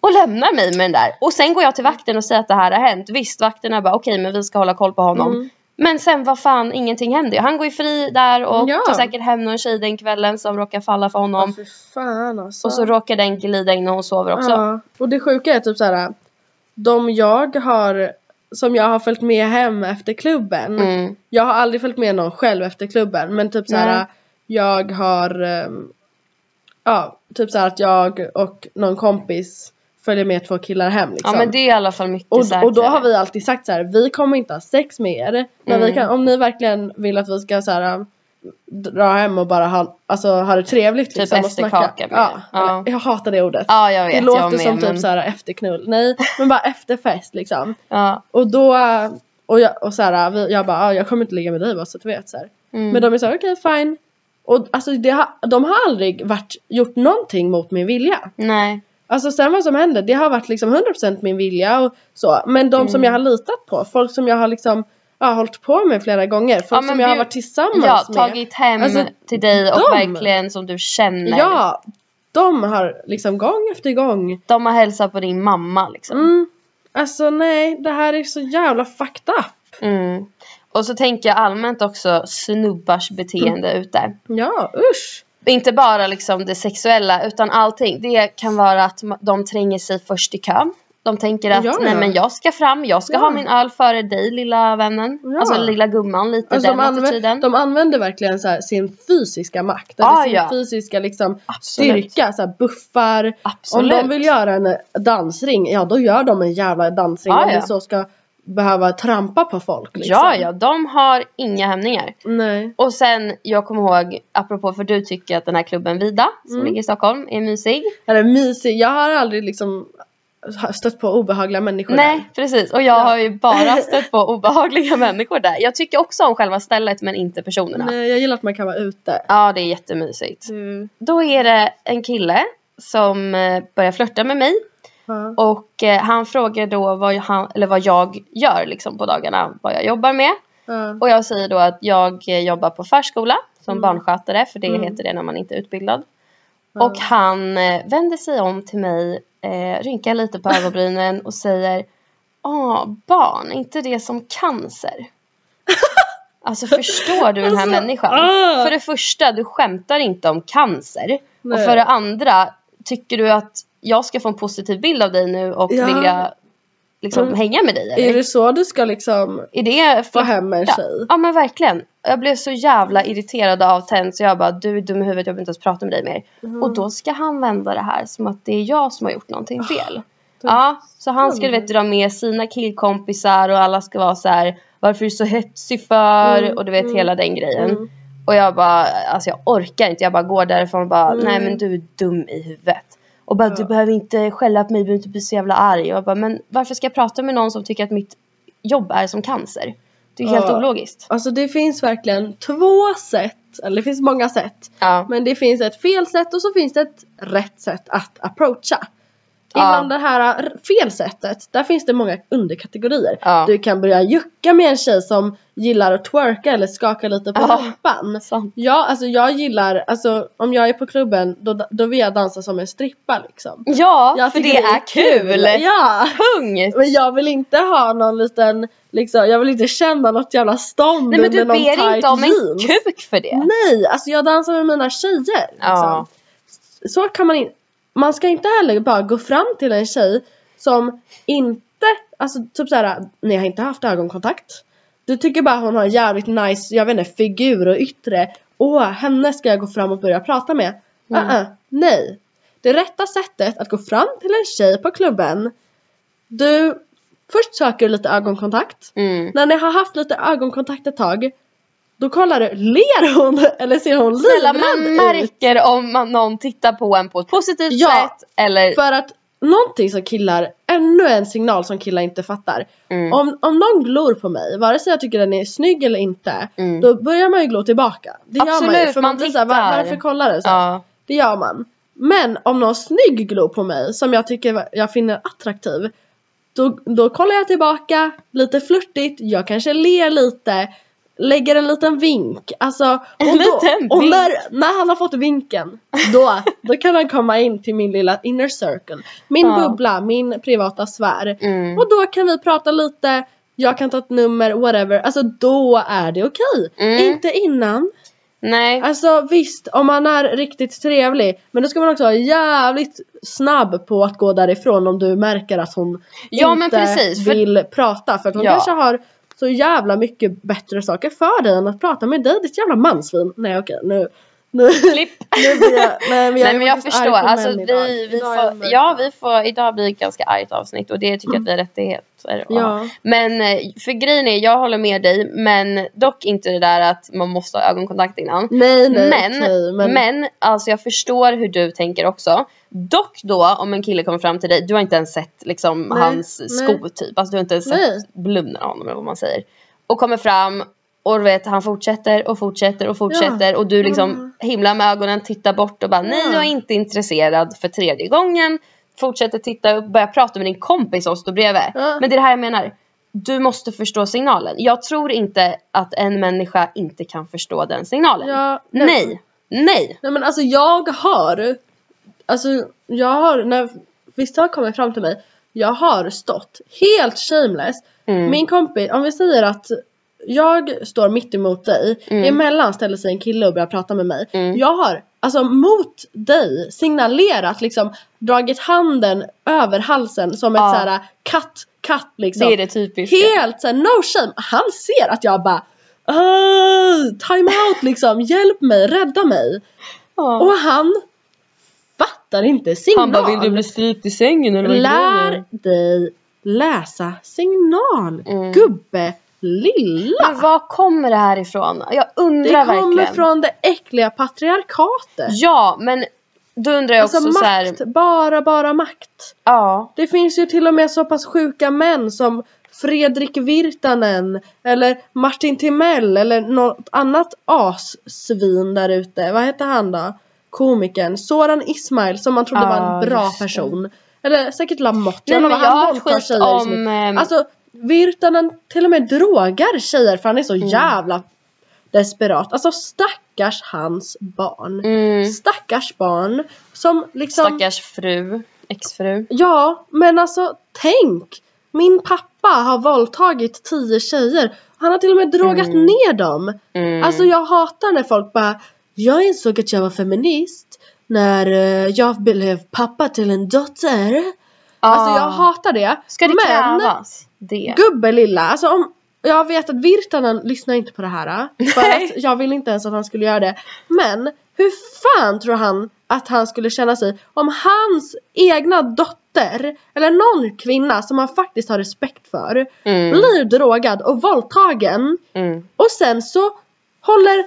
[SPEAKER 2] Och lämnar mig med den där. Och sen går jag till vakten och säger att det här har hänt. Visst, vakterna bara, okej men vi ska hålla koll på honom.
[SPEAKER 1] Mm.
[SPEAKER 2] Men sen vad fan, ingenting händer ju. Han går ju fri där och
[SPEAKER 1] Ja.
[SPEAKER 2] tar säkert hem någon tjej den kvällen som råkar falla för
[SPEAKER 1] Ja,
[SPEAKER 2] honom.
[SPEAKER 1] fy fan alltså.
[SPEAKER 2] Och så råkar den glida in när hon sover också.
[SPEAKER 1] Ja. Och det sjuka är typ såhär, de jag har, som jag har följt med hem efter klubben.
[SPEAKER 2] Mm.
[SPEAKER 1] Jag har aldrig följt med någon själv efter klubben men typ såhär,
[SPEAKER 2] Nej.
[SPEAKER 1] jag har, ehm, ja, typ såhär att jag och någon kompis följer med två killar hem
[SPEAKER 2] Ja
[SPEAKER 1] liksom.
[SPEAKER 2] men det är i alla fall mycket
[SPEAKER 1] Och,
[SPEAKER 2] säkrare.
[SPEAKER 1] och då har vi alltid sagt så här: vi kommer inte ha sex med er. Men
[SPEAKER 2] Mm.
[SPEAKER 1] vi kan, om ni verkligen vill att vi ska så här, um, dra hem och bara ha, alltså, ha det trevligt.
[SPEAKER 2] Typ
[SPEAKER 1] liksom, och
[SPEAKER 2] efterkaka med
[SPEAKER 1] Ja,
[SPEAKER 2] er. Ja.
[SPEAKER 1] eller- Jag hatar det ordet.
[SPEAKER 2] Ja jag vet,
[SPEAKER 1] det låter
[SPEAKER 2] jag med,
[SPEAKER 1] som
[SPEAKER 2] men...
[SPEAKER 1] typ så här efterknull. Nej, men bara efterfest liksom.
[SPEAKER 2] Ja.
[SPEAKER 1] Och då, och jag, och så här, vi, jag bara, ah, jag kommer inte ligga med dig bara så att du vet. Så här.
[SPEAKER 2] Mm.
[SPEAKER 1] Men de är såhär, okej fine. Och alltså det har, de har aldrig varit, gjort någonting mot min vilja.
[SPEAKER 2] Nej.
[SPEAKER 1] Alltså sen vad som händer, det har varit liksom 100% min vilja och så. Men de som
[SPEAKER 2] Mm.
[SPEAKER 1] jag har litat på, folk som jag har liksom ja, hållit på med flera gånger. Folk
[SPEAKER 2] Ja, men
[SPEAKER 1] som jag har
[SPEAKER 2] bjud-
[SPEAKER 1] varit tillsammans
[SPEAKER 2] Ja,
[SPEAKER 1] med.
[SPEAKER 2] tagit hem
[SPEAKER 1] Alltså,
[SPEAKER 2] till dig och
[SPEAKER 1] de-
[SPEAKER 2] verkligen som du känner.
[SPEAKER 1] Ja, de har liksom gång efter gång.
[SPEAKER 2] De har hälsat på din mamma liksom.
[SPEAKER 1] Mm. Alltså nej, det här är så jävla fucked up.
[SPEAKER 2] Mm. Och så tänker jag allmänt också snubbars beteende
[SPEAKER 1] Mm.
[SPEAKER 2] ute.
[SPEAKER 1] Ja, usch.
[SPEAKER 2] Inte bara liksom det sexuella utan allting. Det kan vara att ma- de tränger sig först i kön. De tänker att
[SPEAKER 1] Ja, ja.
[SPEAKER 2] nej men jag ska fram, jag ska
[SPEAKER 1] Ja.
[SPEAKER 2] ha min öl före dig lilla vännen.
[SPEAKER 1] Ja.
[SPEAKER 2] Alltså lilla gumman, lite
[SPEAKER 1] Alltså,
[SPEAKER 2] den
[SPEAKER 1] de, använder,
[SPEAKER 2] attityden.
[SPEAKER 1] de använder verkligen så här, sin fysiska makt.
[SPEAKER 2] Ah,
[SPEAKER 1] Eller sin
[SPEAKER 2] ja.
[SPEAKER 1] fysiska liksom,
[SPEAKER 2] Absolut.
[SPEAKER 1] styrka. Så här, buffar.
[SPEAKER 2] Absolut.
[SPEAKER 1] Om de vill göra en dansring, ja då gör de en jävla dansring.
[SPEAKER 2] Ah,
[SPEAKER 1] om
[SPEAKER 2] ja.
[SPEAKER 1] vi så ska behöva trampa på folk. Liksom.
[SPEAKER 2] Ja, ja, de har inga hämningar.
[SPEAKER 1] Nej.
[SPEAKER 2] Och sen, jag kommer ihåg, apropå för du tycker att den här klubben Vida, som
[SPEAKER 1] Mm.
[SPEAKER 2] ligger i Stockholm, är mysig.
[SPEAKER 1] Eller mysig. Jag har aldrig liksom stött på obehagliga människor.
[SPEAKER 2] Nej, precis. Och jag
[SPEAKER 1] Ja.
[SPEAKER 2] har ju bara stött på obehagliga människor där. Jag tycker också om själva stället, men inte
[SPEAKER 1] där.
[SPEAKER 2] personerna.
[SPEAKER 1] Nej, jag gillar att man kan vara ute.
[SPEAKER 2] Ja, det är jättemysigt.
[SPEAKER 1] Du,
[SPEAKER 2] Då är det en kille som eh, börjar flörta med mig
[SPEAKER 1] ja.
[SPEAKER 2] och eh, han frågar då vad, han, eller vad jag gör liksom på dagarna, vad jag jobbar med.
[SPEAKER 1] Ja.
[SPEAKER 2] Och jag säger då att jag eh, jobbar på förskola som
[SPEAKER 1] Mm.
[SPEAKER 2] barnskötare, för det
[SPEAKER 1] Mm.
[SPEAKER 2] heter det när man inte är utbildad.
[SPEAKER 1] Ja.
[SPEAKER 2] Och han eh, vänder sig om till mig, eh, rynkar lite på ögonbrynen och säger Åh, barn, inte det som cancer? alltså förstår du den här
[SPEAKER 1] Alltså,
[SPEAKER 2] människan?
[SPEAKER 1] ah!
[SPEAKER 2] För det första, du skämtar inte om cancer. Och
[SPEAKER 1] Nej.
[SPEAKER 2] för det andra, tycker du att jag ska få en positiv bild av dig nu och
[SPEAKER 1] Ja.
[SPEAKER 2] vilja liksom
[SPEAKER 1] Mm.
[SPEAKER 2] hänga med dig?
[SPEAKER 1] Är
[SPEAKER 2] Eller?
[SPEAKER 1] det så du ska liksom
[SPEAKER 2] Är det
[SPEAKER 1] få hem en tjej?
[SPEAKER 2] Ja men verkligen. Jag blev så jävla irriterad av Ten så jag bara du är dum i huvudet jag vill inte ens prata med dig mer.
[SPEAKER 1] Mm.
[SPEAKER 2] Och då ska han vända det här som att det är jag som har gjort
[SPEAKER 1] Ah,
[SPEAKER 2] någonting fel. Ja, så han ska du
[SPEAKER 1] Mm.
[SPEAKER 2] vet dra med sina killkompisar och alla ska vara så här varför är du så hetsig för
[SPEAKER 1] Mm,
[SPEAKER 2] och du vet
[SPEAKER 1] mm,
[SPEAKER 2] hela den grejen.
[SPEAKER 1] Mm.
[SPEAKER 2] Och jag bara alltså jag orkar inte jag bara går därifrån och bara
[SPEAKER 1] Mm.
[SPEAKER 2] nej men du är dum i huvudet. Och bara du
[SPEAKER 1] Ja.
[SPEAKER 2] behöver inte skälla på mig, du behöver inte bli så jävla arg. Och jag bara men varför ska jag prata med någon som tycker att mitt jobb är som cancer? Det är helt
[SPEAKER 1] Ja.
[SPEAKER 2] ologiskt.
[SPEAKER 1] Alltså det finns verkligen två sätt, eller det finns många sätt.
[SPEAKER 2] Ja.
[SPEAKER 1] Men det finns ett fel sätt och så finns det ett rätt sätt att approacha.
[SPEAKER 2] Ja.
[SPEAKER 1] Innan det här r- fel sättet, där finns det många underkategorier.
[SPEAKER 2] Ja.
[SPEAKER 1] Du kan börja jucka med en tjej som gillar att twerka eller skaka lite på
[SPEAKER 2] Ja.
[SPEAKER 1] rumpan.
[SPEAKER 2] Sant.
[SPEAKER 1] Ja, alltså jag gillar, alltså om jag är på klubben då, då vill jag dansa som en strippa liksom.
[SPEAKER 2] Ja,
[SPEAKER 1] Jag
[SPEAKER 2] för det,
[SPEAKER 1] tycker
[SPEAKER 2] är kul!
[SPEAKER 1] Ja!
[SPEAKER 2] Punkt!
[SPEAKER 1] Men jag vill inte ha någon liten, liksom, jag vill inte känna något jävla stånd
[SPEAKER 2] Nej men du
[SPEAKER 1] under någon
[SPEAKER 2] ber
[SPEAKER 1] tight
[SPEAKER 2] inte om en
[SPEAKER 1] jeans.
[SPEAKER 2] kuk för det.
[SPEAKER 1] Nej, alltså jag dansar med mina tjejer. Liksom.
[SPEAKER 2] Ja.
[SPEAKER 1] Så kan man inte, man ska inte heller bara gå fram till en tjej som inte, alltså typ såhär, ni har inte haft ögonkontakt. Du tycker bara hon har en jävligt nice, jag vet inte, figur och yttre. Åh, henne ska jag gå fram och börja prata med.
[SPEAKER 2] Mm.
[SPEAKER 1] Uh-uh, nej. Det rätta sättet att gå fram till en tjej på klubben, du, först söker du lite ögonkontakt.
[SPEAKER 2] Mm.
[SPEAKER 1] När ni har haft lite ögonkontakt ett tag då kollar du, ler hon eller ser hon
[SPEAKER 2] Snälla man
[SPEAKER 1] livrädd ut?
[SPEAKER 2] märker om man, någon tittar på en på ett positivt
[SPEAKER 1] Ja.
[SPEAKER 2] sätt eller...
[SPEAKER 1] För att någonting som killar, ännu en signal som killar inte fattar.
[SPEAKER 2] Mm.
[SPEAKER 1] Om, om någon glor på mig, vare sig jag tycker den är snygg eller inte,
[SPEAKER 2] Mm.
[SPEAKER 1] då börjar man ju glo tillbaka. Det gör man ju,
[SPEAKER 2] Absolut,
[SPEAKER 1] för man,
[SPEAKER 2] man
[SPEAKER 1] blir såhär, var,
[SPEAKER 2] tittar.
[SPEAKER 1] varför kollar du så?
[SPEAKER 2] Ja.
[SPEAKER 1] Det gör man. Men om någon snygg glor på mig som jag tycker va- jag finner attraktiv då, då kollar jag tillbaka lite flörtigt, jag kanske ler lite, lägger en liten vink. Alltså, och, då,
[SPEAKER 2] En liten
[SPEAKER 1] och
[SPEAKER 2] vink.
[SPEAKER 1] när, när han har fått vinken då, då kan han komma in till min lilla inner circle. Min
[SPEAKER 2] Ja.
[SPEAKER 1] bubbla, min privata sfär.
[SPEAKER 2] Mm.
[SPEAKER 1] Och då kan vi prata lite, jag kan ta ett nummer, whatever. Alltså då är det okej.
[SPEAKER 2] Mm.
[SPEAKER 1] Inte innan.
[SPEAKER 2] Nej.
[SPEAKER 1] Alltså visst, om man är riktigt trevlig men då ska man också vara jävligt snabb på att gå därifrån om du märker att hon
[SPEAKER 2] Ja,
[SPEAKER 1] inte
[SPEAKER 2] men precis, för-
[SPEAKER 1] vill prata för att hon
[SPEAKER 2] Ja.
[SPEAKER 1] kanske har så jävla mycket bättre saker för dig än att prata med dig ditt jävla mansvin. Nej okej nu, nu,
[SPEAKER 2] Klipp.
[SPEAKER 1] nu blir jag, nej men jag,
[SPEAKER 2] Nej men jag förstår. Alltså vi, vi får, ja
[SPEAKER 1] vi
[SPEAKER 2] vi får, idag blir det ett ganska argt avsnitt och det tycker jag att vi har rättigheter att ha.
[SPEAKER 1] Ja.
[SPEAKER 2] Men eh, för grejen är, jag håller med dig men dock inte det där att man måste ha ögonkontakt innan.
[SPEAKER 1] Nej nej
[SPEAKER 2] men,
[SPEAKER 1] okej,
[SPEAKER 2] men, alltså jag förstår hur du tänker också. Dock då om en kille kommer fram till dig, du har inte ens sett liksom
[SPEAKER 1] Nej, nej.
[SPEAKER 2] hans sko typ. Alltså du har inte ens sett
[SPEAKER 1] Nej.
[SPEAKER 2] blummen av honom eller vad man säger. Och kommer fram och du vet han fortsätter och fortsätter och fortsätter och du liksom himlar med ögonen, tittar bort och bara nej
[SPEAKER 1] Mm. Ja.
[SPEAKER 2] jag är inte intresserad för tredje gången. Fortsätter titta upp, börjar prata med din kompis som står bredvid.
[SPEAKER 1] Ja.
[SPEAKER 2] Men det är det här jag menar. du måste förstå signalen. Jag tror inte att en människa inte kan förstå den signalen.
[SPEAKER 1] Ja,
[SPEAKER 2] Nej, nej.
[SPEAKER 1] Nej men alltså jag har, alltså jag har, när vissa har kommit fram till mig, jag har stått helt shameless.
[SPEAKER 2] Mm.
[SPEAKER 1] Min kompis, om vi säger att jag står mitt emot dig,
[SPEAKER 2] Mm.
[SPEAKER 1] emellan ställer sig en kille och börjar prata med mig.
[SPEAKER 2] Mm.
[SPEAKER 1] Jag har alltså mot dig signalerat liksom dragit handen över halsen som
[SPEAKER 2] Ja.
[SPEAKER 1] ett såhär katt, katt liksom.
[SPEAKER 2] Det är det typiska.
[SPEAKER 1] Helt såhär no shame. Han ser att jag bara "Åh, time out liksom, hjälp mig, rädda mig.
[SPEAKER 2] Ja.
[SPEAKER 1] Och han fattar inte signal.
[SPEAKER 2] Han bara, vill du bli strypt i sängen eller vad
[SPEAKER 1] Lär dig läsa signal.
[SPEAKER 2] Mm.
[SPEAKER 1] Gubbe lilla.
[SPEAKER 2] Men var kommer det här ifrån? Jag
[SPEAKER 1] det
[SPEAKER 2] undrar
[SPEAKER 1] kommer
[SPEAKER 2] verkligen.
[SPEAKER 1] från det äckliga patriarkatet.
[SPEAKER 2] Ja, men då undrar jag
[SPEAKER 1] Alltså
[SPEAKER 2] också så här.
[SPEAKER 1] makt, bara bara makt.
[SPEAKER 2] Ja.
[SPEAKER 1] Det finns ju till och med så pass sjuka män som Fredrik Virtanen eller Martin Timell eller något annat assvin där ute. Vad heter han då? Komikern Soran Ismail som man trodde
[SPEAKER 2] Ja,
[SPEAKER 1] var en bra
[SPEAKER 2] just det.
[SPEAKER 1] person. Eller säkert Lamotte.
[SPEAKER 2] Nej,
[SPEAKER 1] Jag
[SPEAKER 2] men
[SPEAKER 1] lovar,
[SPEAKER 2] jag
[SPEAKER 1] han
[SPEAKER 2] har hört
[SPEAKER 1] våldtar
[SPEAKER 2] skit
[SPEAKER 1] tjejer i smyg.
[SPEAKER 2] om... ehm,
[SPEAKER 1] Alltså Virtanen till och med drogar tjejer för han är så
[SPEAKER 2] Mm.
[SPEAKER 1] jävla desperat. Alltså stackars hans barn.
[SPEAKER 2] mm,
[SPEAKER 1] Stackars barn som liksom
[SPEAKER 2] stackars fru. Exfru.
[SPEAKER 1] Ja, men alltså tänk! Min pappa har våldtagit tio tjejer. Han har till och med drogat
[SPEAKER 2] Mm.
[SPEAKER 1] ner dem.
[SPEAKER 2] Mm.
[SPEAKER 1] Alltså jag hatar när folk bara Jag insåg att jag var feminist när eh, jag blev pappa till en dotter.
[SPEAKER 2] Ah.
[SPEAKER 1] Alltså jag hatar det.
[SPEAKER 2] Ska det
[SPEAKER 1] men
[SPEAKER 2] krävas? Det.
[SPEAKER 1] gubbe lilla, alltså om jag vet att Virtanen lyssnar inte på det här. äh, För
[SPEAKER 2] Nej.
[SPEAKER 1] att jag vill inte ens att han skulle göra det. Men hur fan tror han att han skulle känna sig om hans egna dotter eller någon kvinna som han faktiskt har respekt för
[SPEAKER 2] Mm.
[SPEAKER 1] blir drogad och våldtagen
[SPEAKER 2] Mm.
[SPEAKER 1] och sen så håller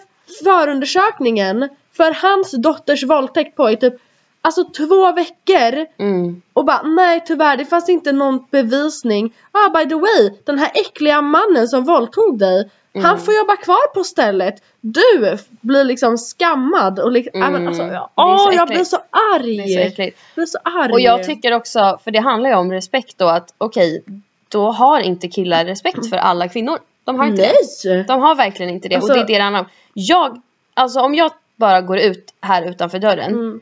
[SPEAKER 1] förundersökningen för hans dotters våldtäkt på i typ alltså två veckor
[SPEAKER 2] Mm.
[SPEAKER 1] och bara nej tyvärr det fanns inte någon bevisning. Ah by the way den här äckliga mannen som våldtog dig. Han
[SPEAKER 2] Mm.
[SPEAKER 1] får jobba kvar på stället. Du f- blir liksom skammad och liksom,
[SPEAKER 2] Mm.
[SPEAKER 1] ah, men alltså,
[SPEAKER 2] Det är
[SPEAKER 1] jag,
[SPEAKER 2] så
[SPEAKER 1] åh jag
[SPEAKER 2] äckligt.
[SPEAKER 1] blir så arg.
[SPEAKER 2] Det är så äckligt.
[SPEAKER 1] Jag blir så arg.
[SPEAKER 2] Och jag tycker också, för det handlar ju om respekt då att okej, då har inte killar respekt för alla kvinnor. De har inte det.
[SPEAKER 1] nej.
[SPEAKER 2] De har verkligen inte det
[SPEAKER 1] Alltså-
[SPEAKER 2] och det är det det handlar om. Jag, alltså om jag bara går ut här utanför dörren.
[SPEAKER 1] Mm.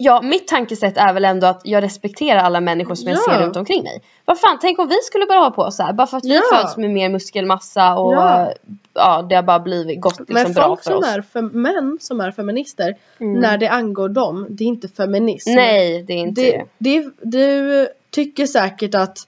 [SPEAKER 2] Ja, mitt tankesätt är väl ändå att jag respekterar alla människor som jag
[SPEAKER 1] Ja.
[SPEAKER 2] ser runt omkring mig. Vad fan, tänk om vi skulle börja ha på så här, bara för att vi
[SPEAKER 1] Ja.
[SPEAKER 2] föds med mer muskelmassa och
[SPEAKER 1] Ja.
[SPEAKER 2] ja, det har bara blivit gott liksom,
[SPEAKER 1] Men
[SPEAKER 2] bra
[SPEAKER 1] folk
[SPEAKER 2] för
[SPEAKER 1] som
[SPEAKER 2] oss.
[SPEAKER 1] är för män som är feminister
[SPEAKER 2] Mm.
[SPEAKER 1] när det angår dem det är inte feminism.
[SPEAKER 2] Nej, det är inte det.
[SPEAKER 1] Det, det, du tycker säkert att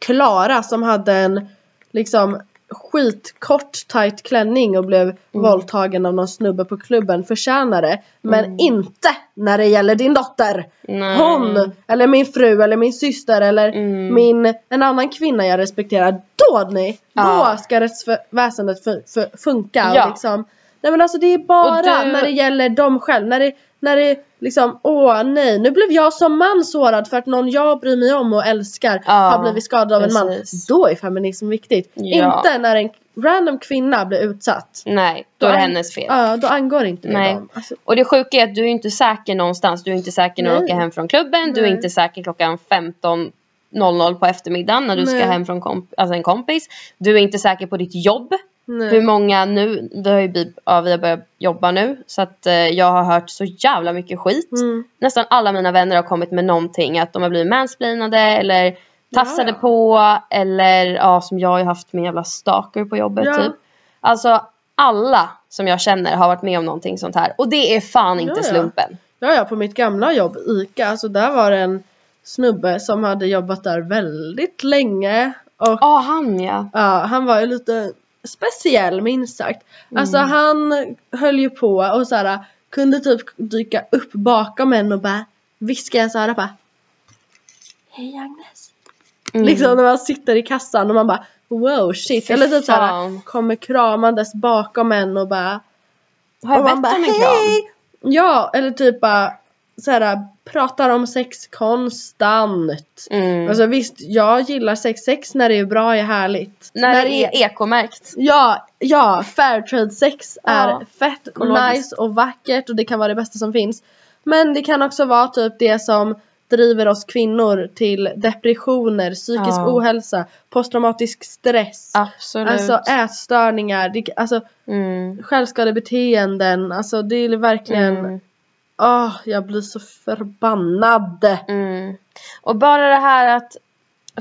[SPEAKER 1] Klara som hade en liksom skitkort tight klänning och blev våldtagen av någon snubbe på klubben förtjänar det. Men inte när det gäller din dotter.
[SPEAKER 2] Nej.
[SPEAKER 1] Hon eller min fru eller min syster eller
[SPEAKER 2] Mm.
[SPEAKER 1] min, en annan kvinna jag respekterar. Då ni,
[SPEAKER 2] Ja.
[SPEAKER 1] då ska rättsväsendet fu- fu- funka.
[SPEAKER 2] Ja.
[SPEAKER 1] Och liksom, nej men alltså det är bara
[SPEAKER 2] Och du-
[SPEAKER 1] när det gäller dem själv. När det, när det liksom, åh nej nu blev jag som man sårad för att någon jag bryr mig om och älskar
[SPEAKER 2] Ja,
[SPEAKER 1] har blivit skadad av en man.
[SPEAKER 2] precis.
[SPEAKER 1] Då är feminism viktigt.
[SPEAKER 2] Ja.
[SPEAKER 1] Inte när en random kvinna blir utsatt.
[SPEAKER 2] Nej, då är det hennes fel.
[SPEAKER 1] Ja, då angår inte det
[SPEAKER 2] Nej.
[SPEAKER 1] dem. Alltså,
[SPEAKER 2] Och det sjuka är att du är inte säker någonstans. Du är inte säker när du
[SPEAKER 1] Nej.
[SPEAKER 2] åker hem från klubben. Du är
[SPEAKER 1] Nej.
[SPEAKER 2] inte säker klockan 15.00 på eftermiddagen när du ska
[SPEAKER 1] Nej.
[SPEAKER 2] hem från komp- alltså en kompis. Du är inte säker på ditt jobb.
[SPEAKER 1] nej.
[SPEAKER 2] Hur många nu, det har ju vi, ja, vi har börjat jobba nu. Så att eh, jag har hört så jävla mycket skit.
[SPEAKER 1] Mm.
[SPEAKER 2] Nästan alla mina vänner har kommit med någonting. Att de har blivit mansplainade eller tafsade
[SPEAKER 1] Ja, ja.
[SPEAKER 2] på. Eller ja, som jag har ju haft min jävla stalker på jobbet
[SPEAKER 1] Ja.
[SPEAKER 2] typ. Alltså alla som jag känner har varit med om någonting sånt här. Och det är fan inte
[SPEAKER 1] Ja, ja.
[SPEAKER 2] slumpen.
[SPEAKER 1] Ja, ja, på mitt gamla jobb, ICA, alltså där var det en snubbe som hade jobbat där väldigt länge och
[SPEAKER 2] Ja, han ja.
[SPEAKER 1] ja, han var ju lite speciell minst sagt. Alltså
[SPEAKER 2] Mm.
[SPEAKER 1] han höll ju på och så här kunde typ dyka upp bakom en och bara viska i ens öra bara Hej Agnes.
[SPEAKER 2] Mm.
[SPEAKER 1] Liksom när man sitter i kassan och man bara wow shit.
[SPEAKER 2] Fy
[SPEAKER 1] Eller typ så här
[SPEAKER 2] fan.
[SPEAKER 1] kommer kramandes bakom en och bara
[SPEAKER 2] har jag
[SPEAKER 1] och man
[SPEAKER 2] bett
[SPEAKER 1] bara
[SPEAKER 2] om en kram?
[SPEAKER 1] hej! Ja, eller typ bara såhär pratar om sex konstant.
[SPEAKER 2] Mm.
[SPEAKER 1] Alltså visst, jag gillar sex. Sex när det är bra är härligt.
[SPEAKER 2] när, det är ekomärkt.
[SPEAKER 1] Ja, ja, fairtrade sex
[SPEAKER 2] Ja,
[SPEAKER 1] är fett
[SPEAKER 2] ekologiskt.
[SPEAKER 1] nice och vackert och det kan vara det bästa som finns. Men det kan också vara typ det som driver oss kvinnor till depressioner, psykisk
[SPEAKER 2] Ja.
[SPEAKER 1] ohälsa, posttraumatisk stress,
[SPEAKER 2] Absolut.
[SPEAKER 1] alltså ätstörningar, det, alltså
[SPEAKER 2] mm.
[SPEAKER 1] självskadebeteenden, alltså det är verkligen, åh
[SPEAKER 2] Mm.
[SPEAKER 1] jag blir så förbannad!
[SPEAKER 2] Mm. Och bara det här att,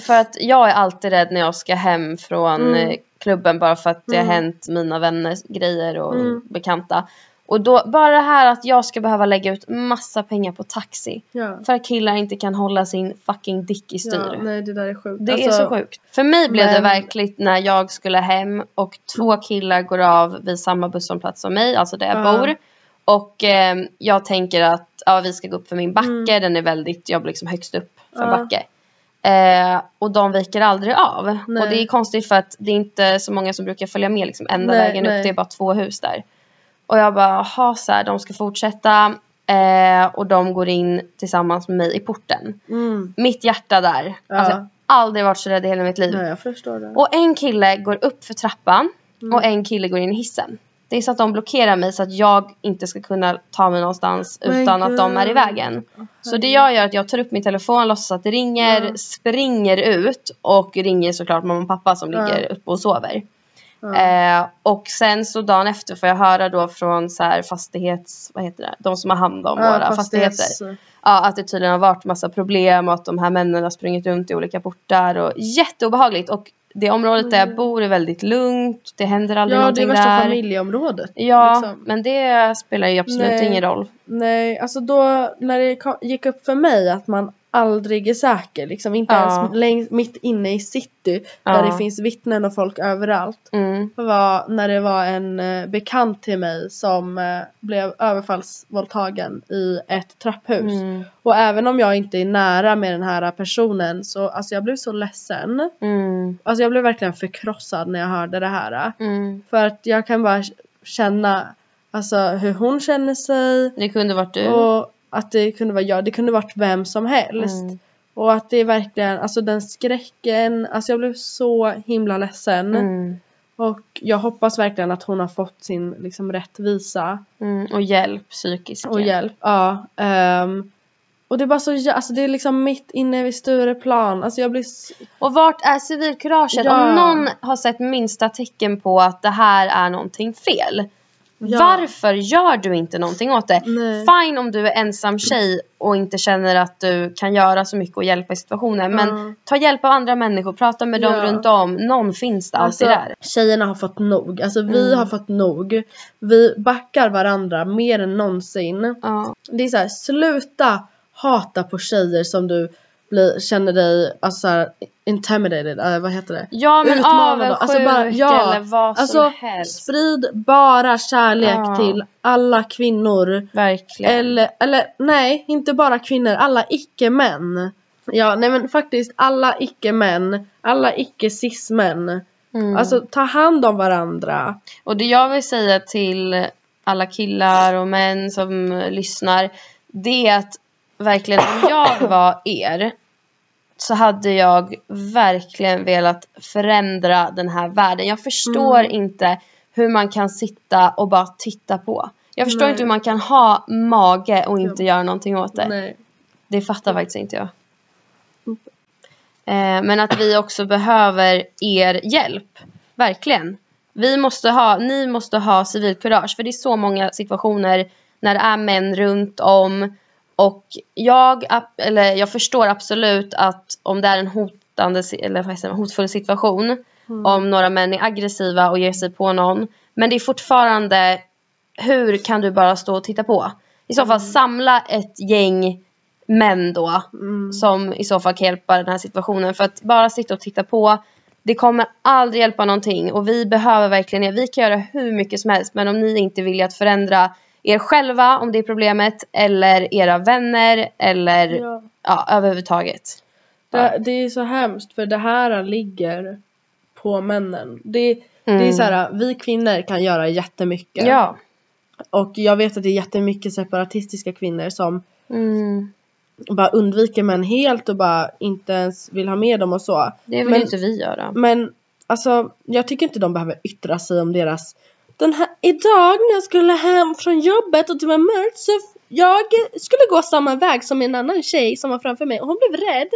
[SPEAKER 2] för att jag är alltid rädd när jag ska hem från
[SPEAKER 1] Mm.
[SPEAKER 2] eh, klubben bara för att det
[SPEAKER 1] Mm.
[SPEAKER 2] har hänt mina vänner grejer och
[SPEAKER 1] Mm.
[SPEAKER 2] bekanta. Och då, bara det här att jag ska behöva lägga ut massa pengar på taxi.
[SPEAKER 1] Ja.
[SPEAKER 2] För att killar inte kan hålla sin fucking dick i styr.
[SPEAKER 1] ja, nej det där är sjukt. Alltså,
[SPEAKER 2] Det är så sjukt. För mig blev det
[SPEAKER 1] Men-
[SPEAKER 2] verkligt när jag skulle hem och två killar går av vid samma busshållplats som mig, alltså där jag
[SPEAKER 1] Ja.
[SPEAKER 2] bor. Och eh, jag tänker att ja, vi ska gå upp för min backe,
[SPEAKER 1] Mm.
[SPEAKER 2] den är väldigt, jag blir liksom högst upp för en
[SPEAKER 1] Ja.
[SPEAKER 2] backe. Eh, och de viker aldrig av.
[SPEAKER 1] Nej.
[SPEAKER 2] Och det är konstigt för att det är inte så många som brukar följa med liksom ända
[SPEAKER 1] Nej,
[SPEAKER 2] vägen
[SPEAKER 1] nej.
[SPEAKER 2] upp, det är bara två hus där. Och jag bara, jaha så här, de ska fortsätta. Eh, och de går in tillsammans med mig i porten.
[SPEAKER 1] Mm.
[SPEAKER 2] Mitt hjärta där.
[SPEAKER 1] Ja.
[SPEAKER 2] Alltså, jag har aldrig varit så rädd i hela mitt liv.
[SPEAKER 1] Ja, jag förstår det.
[SPEAKER 2] Och en kille går upp för trappan
[SPEAKER 1] Mm.
[SPEAKER 2] och en kille går in i hissen. Det är så att de blockerar mig så att jag inte ska kunna ta mig någonstans
[SPEAKER 1] Men
[SPEAKER 2] utan att de är i
[SPEAKER 1] gud.
[SPEAKER 2] vägen. Så det jag gör är att jag tar upp min telefon, låtsas att det ringer,
[SPEAKER 1] Ja.
[SPEAKER 2] springer ut och ringer såklart mamma och pappa som
[SPEAKER 1] Ja.
[SPEAKER 2] ligger uppe och sover.
[SPEAKER 1] Ja.
[SPEAKER 2] Eh, och sen så dagen efter får jag höra då från så här fastighets, vad heter det, de som har hand om våra fastigheter. Ja, att det tydligen har varit massa problem och att de här männen har sprungit runt i olika portar och jätteobehagligt och det området där jag
[SPEAKER 1] Mm.
[SPEAKER 2] bor är väldigt lugnt, det händer aldrig
[SPEAKER 1] Ja, det är
[SPEAKER 2] någonting
[SPEAKER 1] värsta
[SPEAKER 2] där.
[SPEAKER 1] familjeområdet.
[SPEAKER 2] Ja,
[SPEAKER 1] liksom.
[SPEAKER 2] men det spelar ju absolut
[SPEAKER 1] Nej.
[SPEAKER 2] ingen roll.
[SPEAKER 1] Nej, alltså då när det kom, gick upp för mig att man aldrig är säker, liksom inte
[SPEAKER 2] Ja.
[SPEAKER 1] ens längs, mitt inne i city
[SPEAKER 2] Ja.
[SPEAKER 1] där det finns vittnen och folk överallt.
[SPEAKER 2] Mm.
[SPEAKER 1] var när det var en eh, bekant till mig som eh, blev överfallsvåldtagen i ett trapphus.
[SPEAKER 2] Mm.
[SPEAKER 1] Och även om jag inte är nära med den här personen så alltså jag blev så ledsen.
[SPEAKER 2] Mm.
[SPEAKER 1] Alltså jag blev verkligen förkrossad när jag hörde det här.
[SPEAKER 2] Mm.
[SPEAKER 1] För att jag kan bara känna alltså hur hon känner sig
[SPEAKER 2] Det kunde varit du.
[SPEAKER 1] och att det kunde vara jag, det kunde varit vem som helst.
[SPEAKER 2] Mm.
[SPEAKER 1] Och att det är verkligen, alltså den skräcken, alltså jag blev så himla ledsen.
[SPEAKER 2] Mm.
[SPEAKER 1] Och jag hoppas verkligen att hon har fått sin liksom, rättvisa
[SPEAKER 2] Mm. Och hjälp, psykisk
[SPEAKER 1] och hjälp. Ja, ehm, och det är bara så, jä- alltså det är liksom mitt inne vid Stureplan. Alltså jag blir, s-
[SPEAKER 2] Och vart är civilkuraget?
[SPEAKER 1] Ja.
[SPEAKER 2] Om någon har sett minsta tecken på att det här är någonting fel.
[SPEAKER 1] Ja.
[SPEAKER 2] Varför gör du inte någonting åt det?
[SPEAKER 1] Nej.
[SPEAKER 2] Fine om du är ensam tjej och inte känner att du kan göra så mycket och hjälpa i situationen. Men
[SPEAKER 1] Ja.
[SPEAKER 2] ta hjälp av andra människor, prata med dem
[SPEAKER 1] Ja.
[SPEAKER 2] runt om. Någon finns det
[SPEAKER 1] alltså,
[SPEAKER 2] alltid där.
[SPEAKER 1] tjejerna har fått nog. Alltså vi
[SPEAKER 2] Mm.
[SPEAKER 1] har fått nog. Vi backar varandra mer än någonsin.
[SPEAKER 2] Ja.
[SPEAKER 1] Det är så här, sluta hata på tjejer som du blir, känner dig alltså, så här, intimidated, eh, vad heter det?
[SPEAKER 2] Ja men
[SPEAKER 1] Utmana dem.
[SPEAKER 2] avundsjuk
[SPEAKER 1] Alltså, bara- ja.
[SPEAKER 2] eller vad
[SPEAKER 1] Alltså
[SPEAKER 2] som helst.
[SPEAKER 1] sprid bara kärlek
[SPEAKER 2] Ja.
[SPEAKER 1] till alla kvinnor.
[SPEAKER 2] Verkligen.
[SPEAKER 1] Eller, eller nej, inte bara kvinnor, alla icke-män. Ja, nej men faktiskt alla icke-män, alla icke-cis-män.
[SPEAKER 2] Mm.
[SPEAKER 1] Alltså ta hand om varandra.
[SPEAKER 2] Och det jag vill säga till alla killar och män som eh, lyssnar. Det är att verkligen om jag var er. Så hade jag verkligen velat förändra den här världen. Jag förstår
[SPEAKER 1] Mm.
[SPEAKER 2] inte hur man kan sitta och bara titta på. Jag förstår
[SPEAKER 1] Nej.
[SPEAKER 2] inte hur man kan ha mage och inte göra någonting åt det.
[SPEAKER 1] Nej.
[SPEAKER 2] Det fattar faktiskt inte jag. Eh, men att vi också behöver er hjälp. Verkligen. Vi måste ha, ni måste ha civilkurage. För det är så många situationer när det är män runt om. Och jag, ab- eller jag förstår absolut att om det är en hotande, si- eller vad heter det, hotfull situation. Om några män är aggressiva och ger sig på någon. Men det är fortfarande, hur kan du bara stå och titta på? I så fall samla ett gäng män då
[SPEAKER 1] Mm.
[SPEAKER 2] som i så fall kan hjälpa den här situationen. För att bara sitta och titta på, det kommer aldrig hjälpa någonting. Och vi behöver verkligen er. Vi kan göra hur mycket som helst. Men om ni inte vill att förändra er själva, om det är problemet, eller era vänner, eller ja.
[SPEAKER 1] Ja.
[SPEAKER 2] överhuvudtaget.
[SPEAKER 1] Det, det är så hemskt för det här ligger på männen. Det, det är
[SPEAKER 2] Mm.
[SPEAKER 1] så här, vi kvinnor kan göra jättemycket.
[SPEAKER 2] Ja.
[SPEAKER 1] Och jag vet att det är jättemycket separatistiska kvinnor som
[SPEAKER 2] Mm.
[SPEAKER 1] bara undviker män helt och bara inte ens vill ha med dem och så.
[SPEAKER 2] Det vill
[SPEAKER 1] Men-
[SPEAKER 2] ju inte vi göra.
[SPEAKER 1] Men alltså jag tycker inte de behöver yttra sig om deras den här, idag när jag skulle hem från jobbet och det var mörkt så f- Jag skulle gå samma väg som en annan tjej som var framför mig och hon blev rädd.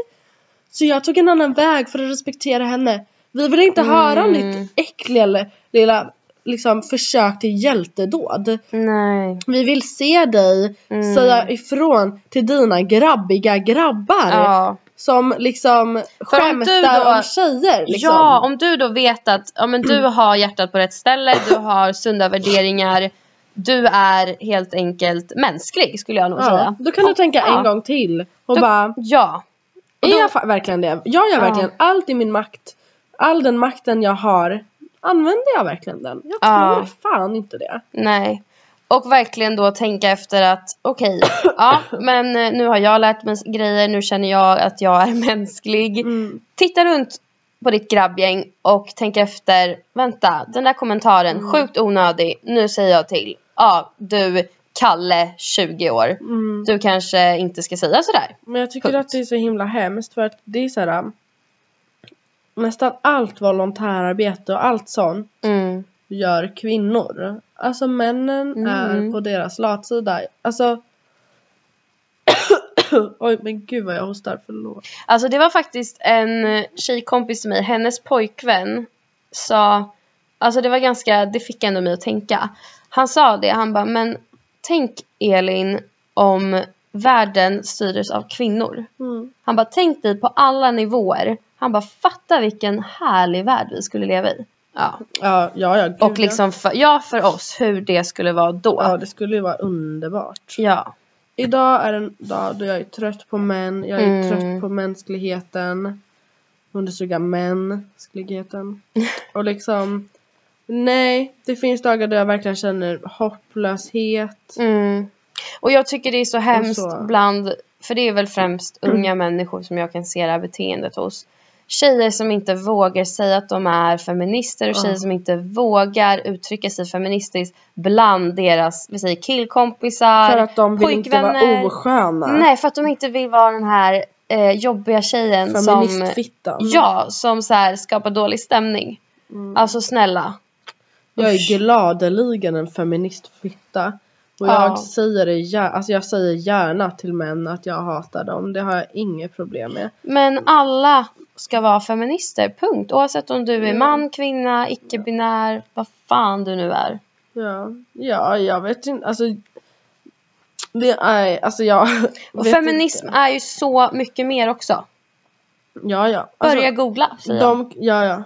[SPEAKER 1] Så jag tog en annan väg för att respektera henne. Vi ville inte höra om
[SPEAKER 2] Mm.
[SPEAKER 1] ditt äckliga eller lilla liksom, försök till hjältedåd.
[SPEAKER 2] Nej.
[SPEAKER 1] Vi vill se dig
[SPEAKER 2] Mm.
[SPEAKER 1] säga ifrån till dina grabbiga grabbar.
[SPEAKER 2] Ja.
[SPEAKER 1] Som liksom
[SPEAKER 2] För om du
[SPEAKER 1] skämtar
[SPEAKER 2] då-
[SPEAKER 1] om tjejer. Liksom.
[SPEAKER 2] ja, om du då vet att ja, men du har hjärtat på rätt ställe, du har sunda värderingar. Du är helt enkelt mänsklig skulle jag nog
[SPEAKER 1] Ja,
[SPEAKER 2] säga.
[SPEAKER 1] Då kan du tänka
[SPEAKER 2] Ja.
[SPEAKER 1] en gång till. Och
[SPEAKER 2] Då-
[SPEAKER 1] bara,
[SPEAKER 2] Ja. Och
[SPEAKER 1] Är
[SPEAKER 2] då-
[SPEAKER 1] jag fa- verkligen det? Jag gör jag
[SPEAKER 2] Ja.
[SPEAKER 1] verkligen allt i min makt. All den makten jag har. Använder jag verkligen den? Jag
[SPEAKER 2] Ja.
[SPEAKER 1] tror fan inte det.
[SPEAKER 2] Nej. Och verkligen då tänka efter att okej, ja men eh, nu har jag lärt mig grejer, nu känner jag att jag är mänsklig.
[SPEAKER 1] Mm.
[SPEAKER 2] Titta runt på ditt grabbgäng och tänk efter, vänta den där kommentaren,
[SPEAKER 1] Mm.
[SPEAKER 2] sjukt onödig, nu säger jag till. Ja, du Kalle, 20 år.
[SPEAKER 1] Mm.
[SPEAKER 2] Du kanske inte ska säga sådär.
[SPEAKER 1] Men jag tycker
[SPEAKER 2] Punkt.
[SPEAKER 1] att det är så himla hemskt för att det är så här. ähm, Nästan allt volontärarbete och allt sånt
[SPEAKER 2] Mm.
[SPEAKER 1] gör kvinnor. Alltså männen
[SPEAKER 2] Mm.
[SPEAKER 1] är på deras latsida. Alltså. Oj men gud vad jag hostar, förlåt.
[SPEAKER 2] Alltså det var faktiskt en tjejkompis till mig, hennes pojkvän sa, alltså det var ganska, det fick ändå mig att tänka. Han sa det, han bara, men tänk Elin om världen styrs av kvinnor.
[SPEAKER 1] Mm.
[SPEAKER 2] Han bara, tänk dig på alla nivåer. Han bara, fatta vilken härlig värld vi skulle leva i. Ja,
[SPEAKER 1] Ja, ja, ja. Gud,
[SPEAKER 2] och liksom, för, ja för oss, hur det skulle vara
[SPEAKER 1] Ja. ja
[SPEAKER 2] då.
[SPEAKER 1] det skulle ju vara underbart.
[SPEAKER 2] Ja.
[SPEAKER 1] Idag är en dag då jag är trött på män, jag är
[SPEAKER 2] Mm.
[SPEAKER 1] trött på mänskligheten. Understryka mänskligheten. Och liksom, nej, det finns dagar då jag verkligen känner hopplöshet.
[SPEAKER 2] Mm. Och jag tycker det är så hemskt
[SPEAKER 1] så. Mm.
[SPEAKER 2] bland, för det är väl främst unga människor som jag kan se det här beteendet hos. Tjejer som inte vågar säga att de är feminister och
[SPEAKER 1] Ja.
[SPEAKER 2] tjejer som inte vågar uttrycka sig feministiskt bland deras vi säger, killkompisar,
[SPEAKER 1] För att de vill inte vara
[SPEAKER 2] pojkvänner.
[SPEAKER 1] osköna.
[SPEAKER 2] Nej, för att de inte vill vara den här eh, jobbiga tjejen som,
[SPEAKER 1] Feministfittan.
[SPEAKER 2] ja, som så här, skapar dålig stämning.
[SPEAKER 1] Mm.
[SPEAKER 2] Alltså snälla.
[SPEAKER 1] Jag är gladeligen en feministfitta. Och
[SPEAKER 2] Ja.
[SPEAKER 1] jag, säger det, gär- alltså jag säger gärna till män att jag hatar dem. Det har jag inget problem med.
[SPEAKER 2] Men alla ska vara feminister, punkt. Oavsett om du är man, kvinna, icke-binär, vad fan du nu är.
[SPEAKER 1] Ja, ja jag vet inte. Alltså, det är, alltså jag
[SPEAKER 2] Och
[SPEAKER 1] vet
[SPEAKER 2] feminism
[SPEAKER 1] inte.
[SPEAKER 2] är ju så mycket mer också.
[SPEAKER 1] Ja, ja. Alltså,
[SPEAKER 2] Börja googla, säger jag.
[SPEAKER 1] de, ja, ja.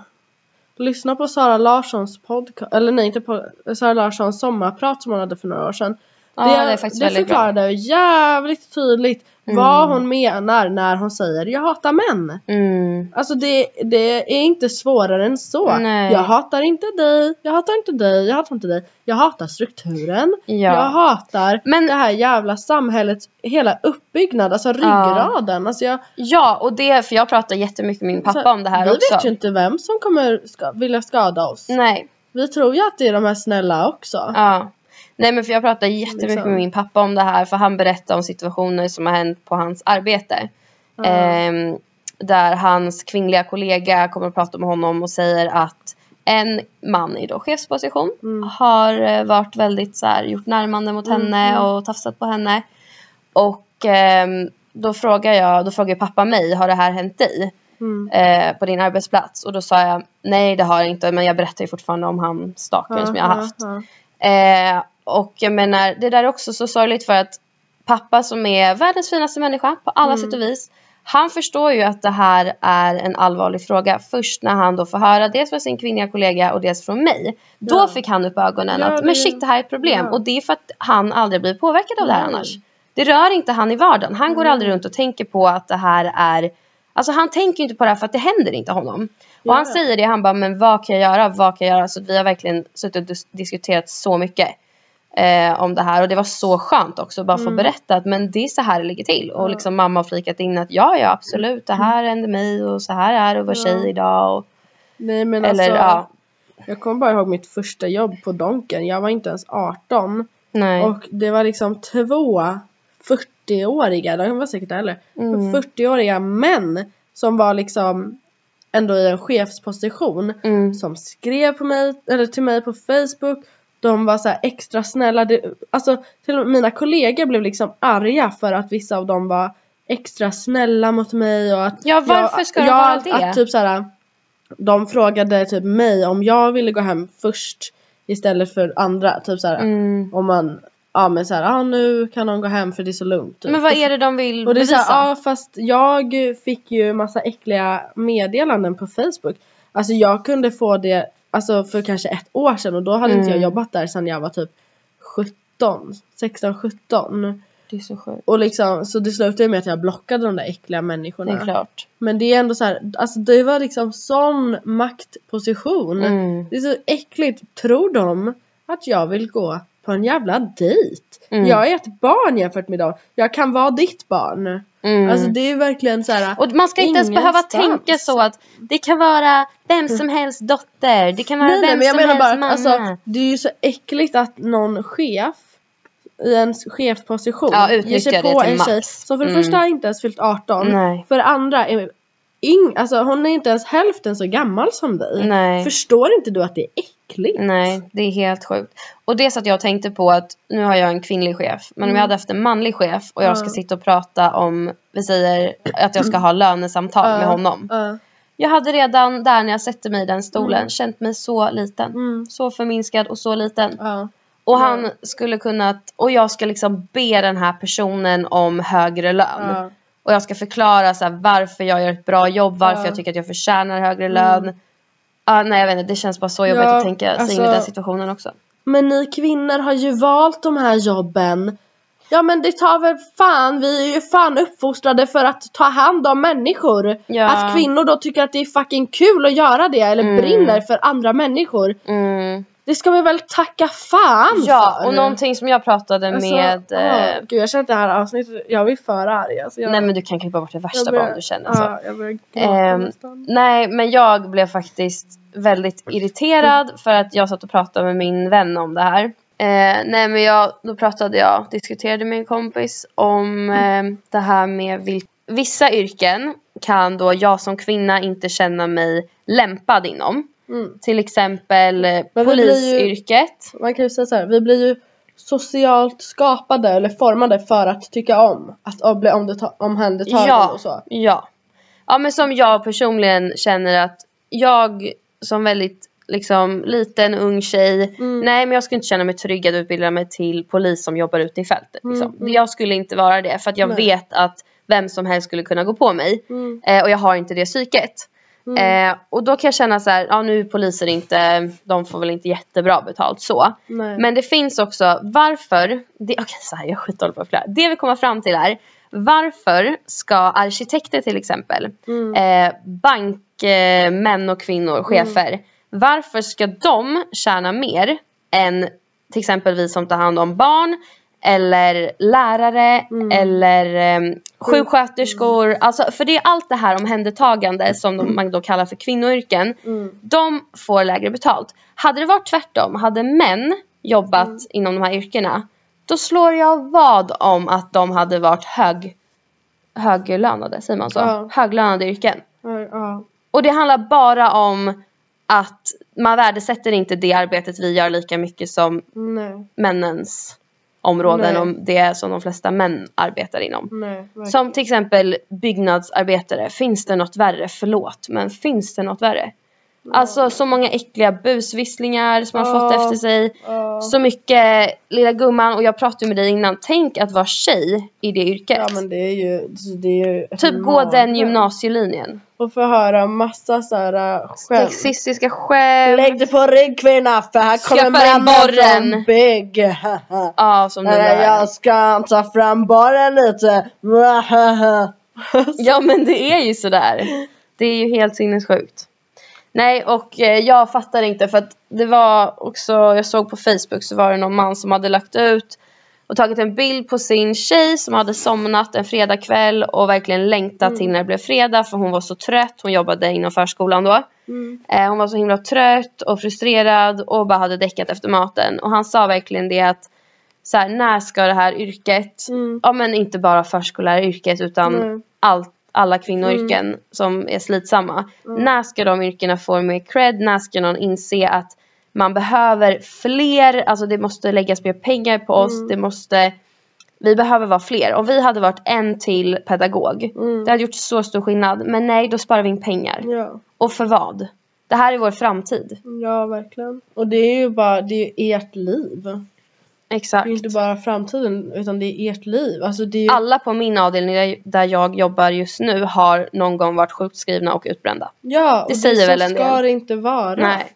[SPEAKER 1] Lyssna på Sara Larssons podcast, eller nej inte på Sara Larssons sommarprat som hon hade för några år sedan.
[SPEAKER 2] Ja, det är faktiskt väldigt bra.
[SPEAKER 1] förklarade jävligt tydligt
[SPEAKER 2] Mm.
[SPEAKER 1] vad hon menar när hon säger jag hatar män.
[SPEAKER 2] Mm.
[SPEAKER 1] Alltså det, det är inte svårare än så.
[SPEAKER 2] Nej.
[SPEAKER 1] Jag hatar inte dig, jag hatar inte dig, jag hatar inte dig. Jag hatar strukturen.
[SPEAKER 2] Ja.
[SPEAKER 1] Jag hatar
[SPEAKER 2] Men-
[SPEAKER 1] det här jävla samhällets hela uppbyggnad, alltså ryggraden. Alltså jag,
[SPEAKER 2] Ja, och det, för jag pratar jättemycket med min pappa om det här
[SPEAKER 1] vi
[SPEAKER 2] också.
[SPEAKER 1] Alltså, vet ju inte vem som kommer ska, vilja skada oss.
[SPEAKER 2] Nej,
[SPEAKER 1] Vi tror ju att det är de här snälla också.
[SPEAKER 2] ja. Nej men för jag pratar jättemycket
[SPEAKER 1] Liksom.
[SPEAKER 2] med min pappa om det här för han berättar om situationer som har hänt på hans arbete.
[SPEAKER 1] Ja.
[SPEAKER 2] Ehm, där hans kvinnliga kollega kommer att prata med honom och säger att en man i då chefsposition
[SPEAKER 1] Mm.
[SPEAKER 2] har eh, varit väldigt så här, gjort närmanden mot
[SPEAKER 1] Mm,
[SPEAKER 2] henne
[SPEAKER 1] mm.
[SPEAKER 2] och tafsat på henne. Och ehm, då frågar jag, då frågar pappa mig, har det här hänt dig?
[SPEAKER 1] Mm.
[SPEAKER 2] Eh, på din arbetsplats? Och då sa jag, nej det har det inte men jag berättar ju fortfarande om han stalkern som jag har
[SPEAKER 1] Ja,
[SPEAKER 2] haft.
[SPEAKER 1] ja,
[SPEAKER 2] Eh, och jag menar, det där är också så sorgligt för att pappa som är världens finaste människa på alla
[SPEAKER 1] Mm.
[SPEAKER 2] sätt och vis. Han förstår ju att det här är en allvarlig fråga först när han då får höra dels från sin kvinnliga kollega och dels från mig. Då
[SPEAKER 1] Ja.
[SPEAKER 2] fick han upp ögonen
[SPEAKER 1] Ja,
[SPEAKER 2] att
[SPEAKER 1] det-
[SPEAKER 2] men shit det här är ett problem
[SPEAKER 1] ja.
[SPEAKER 2] och det är för att han aldrig blir påverkad av det här
[SPEAKER 1] Nej.
[SPEAKER 2] annars. Det rör inte han i vardagen. Han går
[SPEAKER 1] Nej.
[SPEAKER 2] aldrig runt och tänker på att det här är Alltså han tänker ju inte på det här för att det händer inte honom. Och han
[SPEAKER 1] Ja.
[SPEAKER 2] säger det, han bara men vad kan jag göra, vad kan jag göra? Så vi har verkligen suttit och dis- diskuterat så mycket eh, om det här och det var så skönt också att bara få
[SPEAKER 1] Mm.
[SPEAKER 2] berätta att men det är så här det ligger till och
[SPEAKER 1] Ja. Mm.
[SPEAKER 2] liksom mamma har flikat in att ja ja absolut det här hände mig och så här är det att vara
[SPEAKER 1] Ja.
[SPEAKER 2] tjej idag och,
[SPEAKER 1] Nej men
[SPEAKER 2] eller
[SPEAKER 1] alltså,
[SPEAKER 2] ja
[SPEAKER 1] jag kommer bara ihåg mitt första jobb på Donken. Jag var inte ens 18.
[SPEAKER 2] nej
[SPEAKER 1] Och det var liksom två 40-åriga, de var säkert äldre,
[SPEAKER 2] Mm.
[SPEAKER 1] 40-åriga män som var liksom ändå i en chefsposition
[SPEAKER 2] mm.
[SPEAKER 1] som skrev på mig, eller till mig på Facebook de var så här extra snälla. Det, alltså till och med mina kollegor blev liksom arga för att vissa av dem var extra snälla mot mig och att
[SPEAKER 2] Ja, varför ska de
[SPEAKER 1] jag,
[SPEAKER 2] vara
[SPEAKER 1] att-
[SPEAKER 2] det?
[SPEAKER 1] Att typ så här, de frågade typ mig om jag ville gå hem först istället för andra. Typ så här,
[SPEAKER 2] Mm.
[SPEAKER 1] om man, ja men så här, ah, nu kan de gå hem för det är så lugnt. Typ.
[SPEAKER 2] Men vad är det de vill
[SPEAKER 1] Och det är
[SPEAKER 2] bevisa?
[SPEAKER 1] såhär, ja fast jag fick ju massa äckliga meddelanden på Facebook. Alltså jag kunde få det alltså för kanske ett år sedan och då hade inte
[SPEAKER 2] Mm.
[SPEAKER 1] jag jobbat där sedan jag var typ 17, 16, 17.
[SPEAKER 2] det är så sjukt.
[SPEAKER 1] Och liksom så det slutade ju med att jag blockade de där äckliga
[SPEAKER 2] Det
[SPEAKER 1] människorna.
[SPEAKER 2] är klart.
[SPEAKER 1] Men det är ändå så här, alltså det var liksom sån maktposition.
[SPEAKER 2] Mm.
[SPEAKER 1] Det är så äckligt, tror de att jag vill gå på en jävla dejt?
[SPEAKER 2] Mm.
[SPEAKER 1] Jag är ett barn jämfört med dem. Jag kan vara ditt barn.
[SPEAKER 2] Mm.
[SPEAKER 1] Alltså det är verkligen så här.
[SPEAKER 2] Och man ska inte ens behöva
[SPEAKER 1] Ingenstans.
[SPEAKER 2] tänka så att det kan vara vem som helst dotter, det kan vara
[SPEAKER 1] nej, nej
[SPEAKER 2] vem
[SPEAKER 1] men jag
[SPEAKER 2] som
[SPEAKER 1] menar
[SPEAKER 2] helst
[SPEAKER 1] bara
[SPEAKER 2] mamma.
[SPEAKER 1] alltså, det är ju så äckligt att någon chef i en chefsposition
[SPEAKER 2] Ja, utnyttjar det till max.
[SPEAKER 1] som för det
[SPEAKER 2] Mm.
[SPEAKER 1] första inte ens fyllt 18.
[SPEAKER 2] Nej.
[SPEAKER 1] För det andra är yng, alltså hon är inte ens hälften så gammal som dig.
[SPEAKER 2] Nej. Mm.
[SPEAKER 1] Förstår inte du att det är äckligt?
[SPEAKER 2] Nej, det är helt sjukt. Och det är så att jag tänkte på att nu har jag en kvinnlig chef, men om jag hade haft en manlig chef och jag ska
[SPEAKER 1] Mm. Ja. Mm.
[SPEAKER 2] sitta och prata om, vi säger att jag ska ha lönesamtal med
[SPEAKER 1] Ja,
[SPEAKER 2] honom.
[SPEAKER 1] ja.
[SPEAKER 2] Jag hade redan där när jag sätter mig i den stolen känt mig så liten.
[SPEAKER 1] Mm.
[SPEAKER 2] Så förminskad och så liten.
[SPEAKER 1] ja.
[SPEAKER 2] Och han skulle kunna, och jag ska liksom be den här personen om högre lön.
[SPEAKER 1] Ja.
[SPEAKER 2] Och jag ska förklara så här, varför jag gör ett bra jobb, varför
[SPEAKER 1] Ja. Mm.
[SPEAKER 2] jag tycker att jag förtjänar högre lön. Ah, nej jag vet inte, det känns bara så jobbigt
[SPEAKER 1] Ja,
[SPEAKER 2] att tänka sig in i
[SPEAKER 1] alltså-
[SPEAKER 2] den situationen också.
[SPEAKER 1] Men ni kvinnor har ju valt de här jobben. Ja men det tar väl fan, vi är ju fan uppfostrade för att ta hand om människor.
[SPEAKER 2] Ja.
[SPEAKER 1] Att kvinnor då tycker att det är fucking kul att göra det eller
[SPEAKER 2] Mm.
[SPEAKER 1] brinner för andra människor.
[SPEAKER 2] Mm.
[SPEAKER 1] Det ska vi väl tacka fan
[SPEAKER 2] Ja,
[SPEAKER 1] för.
[SPEAKER 2] och någonting som jag pratade med...
[SPEAKER 1] Alltså,
[SPEAKER 2] eh,
[SPEAKER 1] åh, gud jag känner att det här avsnittet, jag blir för arg. Alltså, jag,
[SPEAKER 2] nej men du kan klippa bort det
[SPEAKER 1] jag
[SPEAKER 2] värsta bara
[SPEAKER 1] börjar-
[SPEAKER 2] om du känner så.
[SPEAKER 1] Ja, jag börjar gråta
[SPEAKER 2] Ehm,
[SPEAKER 1] nästan.
[SPEAKER 2] Nej, men jag blev faktiskt väldigt irriterad för att jag satt och pratade med min vän om det här. Eh, nej, men jag, då pratade jag, diskuterade med en kompis om eh, det här med vil- vissa yrken kan då jag som kvinna inte känna mig lämpad inom.
[SPEAKER 1] Mm.
[SPEAKER 2] Till exempel eh,
[SPEAKER 1] Men vi blir ju-
[SPEAKER 2] polisyrket.
[SPEAKER 1] Man kan ju säga så här, vi blir ju socialt skapade eller formade för att tycka om. Att om- bli omdeta- omhändertagen
[SPEAKER 2] Ja,
[SPEAKER 1] och så.
[SPEAKER 2] ja. Ja, men som jag personligen känner att jag som väldigt liksom liten ung tjej,
[SPEAKER 1] Mm.
[SPEAKER 2] nej men jag skulle inte känna mig trygg att utbilda mig till polis som jobbar ute i fältet. Liksom.
[SPEAKER 1] Mm, mm.
[SPEAKER 2] Jag skulle inte vara det för att jag
[SPEAKER 1] Nej.
[SPEAKER 2] vet att vem som helst skulle kunna gå på mig
[SPEAKER 1] Mm.
[SPEAKER 2] eh, och jag har inte det psyket.
[SPEAKER 1] Mm.
[SPEAKER 2] Eh, och då kan jag känna så här, ja nu är poliser inte, de får väl inte jättebra betalt så.
[SPEAKER 1] Nej.
[SPEAKER 2] Men det finns också varför, det, okej så här, jag skiter på flera. Det vi kommer fram till är varför ska arkitekter till exempel,
[SPEAKER 1] Mm.
[SPEAKER 2] eh, bankmän eh, män och kvinnor, chefer, varför ska de tjäna mer än till exempel vi som tar hand om barn eller lärare
[SPEAKER 1] Mm.
[SPEAKER 2] eller eh, sjuksköterskor. Alltså, för det är allt det här omhändertagande som de, man då kallar för kvinnoyrken.
[SPEAKER 1] Mm.
[SPEAKER 2] De får lägre betalt. Hade det varit tvärtom, hade män jobbat
[SPEAKER 1] Mm.
[SPEAKER 2] inom de här yrkena, då slår jag vad om att de hade varit hög, höglönade, säger man så?
[SPEAKER 1] Ja.
[SPEAKER 2] Höglönade yrken.
[SPEAKER 1] Ja, ja.
[SPEAKER 2] Och det handlar bara om att man värdesätter inte det arbetet vi gör lika mycket som
[SPEAKER 1] Nej.
[SPEAKER 2] männens områden,
[SPEAKER 1] Nej. Mm.
[SPEAKER 2] om det är som de flesta män arbetar inom.
[SPEAKER 1] Nej. verkligen.
[SPEAKER 2] Som till exempel byggnadsarbetare, finns det något värre? Förlåt, men finns det något värre? Alltså så många äckliga busvisslingar som man
[SPEAKER 1] Ja.
[SPEAKER 2] fått efter sig.
[SPEAKER 1] Ja.
[SPEAKER 2] Så mycket, lilla gumman, och jag pratade med dig innan, tänk att vara tjej i det yrket.
[SPEAKER 1] Ja men det är ju, det är ju ett
[SPEAKER 2] typ gå den
[SPEAKER 1] mardröm.
[SPEAKER 2] gymnasielinjen.
[SPEAKER 1] Och få höra massa såhär skämt.
[SPEAKER 2] Sexistiska skämt.
[SPEAKER 1] Lägg dig på rygg kvinna för här kommer
[SPEAKER 2] Skaffa dig
[SPEAKER 1] mannen
[SPEAKER 2] borren.
[SPEAKER 1] från bygg.
[SPEAKER 2] Ja, som den
[SPEAKER 1] Nej,
[SPEAKER 2] där.
[SPEAKER 1] jag ska ta fram borren lite.
[SPEAKER 2] Ja men det är ju sådär. Det är ju helt sinnessjukt. Nej och eh, jag fattar inte för att det var också, jag såg på Facebook så var det någon man som hade lagt ut och tagit en bild på sin tjej som hade somnat en fredagkväll och verkligen längtat
[SPEAKER 1] Mm.
[SPEAKER 2] till när det blev fredag för hon var så trött, hon jobbade inom förskolan då.
[SPEAKER 1] Mm.
[SPEAKER 2] Eh, hon var så himla trött och frustrerad och bara hade däckat efter maten och han sa verkligen det att så här, när ska det här yrket,
[SPEAKER 1] Mm.
[SPEAKER 2] ja men inte bara förskolläraryrket utan
[SPEAKER 1] Nej. Mm.
[SPEAKER 2] allt, alla kvinnoyrken som är slitsamma. När ska de yrkena få mer cred? När ska någon inse att Man behöver fler, alltså det måste läggas mer pengar på oss.
[SPEAKER 1] Mm.
[SPEAKER 2] Det måste, vi behöver vara fler. Om vi hade varit en till pedagog.
[SPEAKER 1] Mm.
[SPEAKER 2] Det hade gjort så stor skillnad. Men nej, då sparar vi in pengar.
[SPEAKER 1] Ja.
[SPEAKER 2] Och för vad? Det här är vår framtid.
[SPEAKER 1] ja, verkligen. Och det är ju bara, det är ju ert liv. Det
[SPEAKER 2] Exakt.
[SPEAKER 1] är ju inte bara framtiden utan det är ert liv. Alltså det är ju...
[SPEAKER 2] Alla på min avdelning där- där jag jobbar just nu har någon gång varit sjukskrivna och utbrända.
[SPEAKER 1] Ja, och
[SPEAKER 2] det säger
[SPEAKER 1] så
[SPEAKER 2] väl en
[SPEAKER 1] ska
[SPEAKER 2] del.
[SPEAKER 1] det inte vara.
[SPEAKER 2] Nej.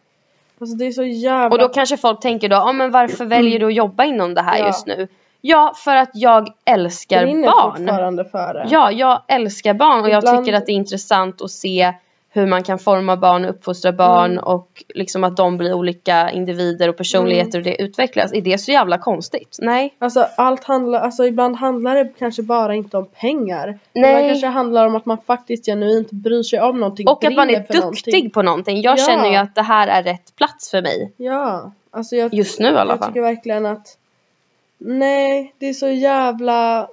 [SPEAKER 1] Alltså det är så jävla...
[SPEAKER 2] Och då kanske folk tänker då, ah, men varför väljer du att jobba inom det här
[SPEAKER 1] Ja.
[SPEAKER 2] just nu? Ja, för att jag älskar
[SPEAKER 1] brinner
[SPEAKER 2] barn.
[SPEAKER 1] fortfarande för det.
[SPEAKER 2] Ja, jag älskar barn och jag
[SPEAKER 1] Ibland-
[SPEAKER 2] tycker att det är intressant att se hur man kan forma barn och uppfostra barn
[SPEAKER 1] Mm.
[SPEAKER 2] och liksom att de blir olika individer och
[SPEAKER 1] Mm.
[SPEAKER 2] personligheter och det utvecklas. Är det så jävla konstigt? Nej.
[SPEAKER 1] Alltså allt handlar, alltså ibland handlar det kanske bara inte om pengar.
[SPEAKER 2] Nej.
[SPEAKER 1] Ibland kanske det handlar om att man faktiskt genuint bryr sig om någonting.
[SPEAKER 2] Och att man är
[SPEAKER 1] brinner för
[SPEAKER 2] duktig
[SPEAKER 1] någonting.
[SPEAKER 2] på någonting. Jag
[SPEAKER 1] Ja.
[SPEAKER 2] känner ju att det här är rätt plats för mig.
[SPEAKER 1] Ja. Alltså jag,
[SPEAKER 2] Just nu i alla
[SPEAKER 1] jag
[SPEAKER 2] fall.
[SPEAKER 1] tycker verkligen att Nej, det är så jävla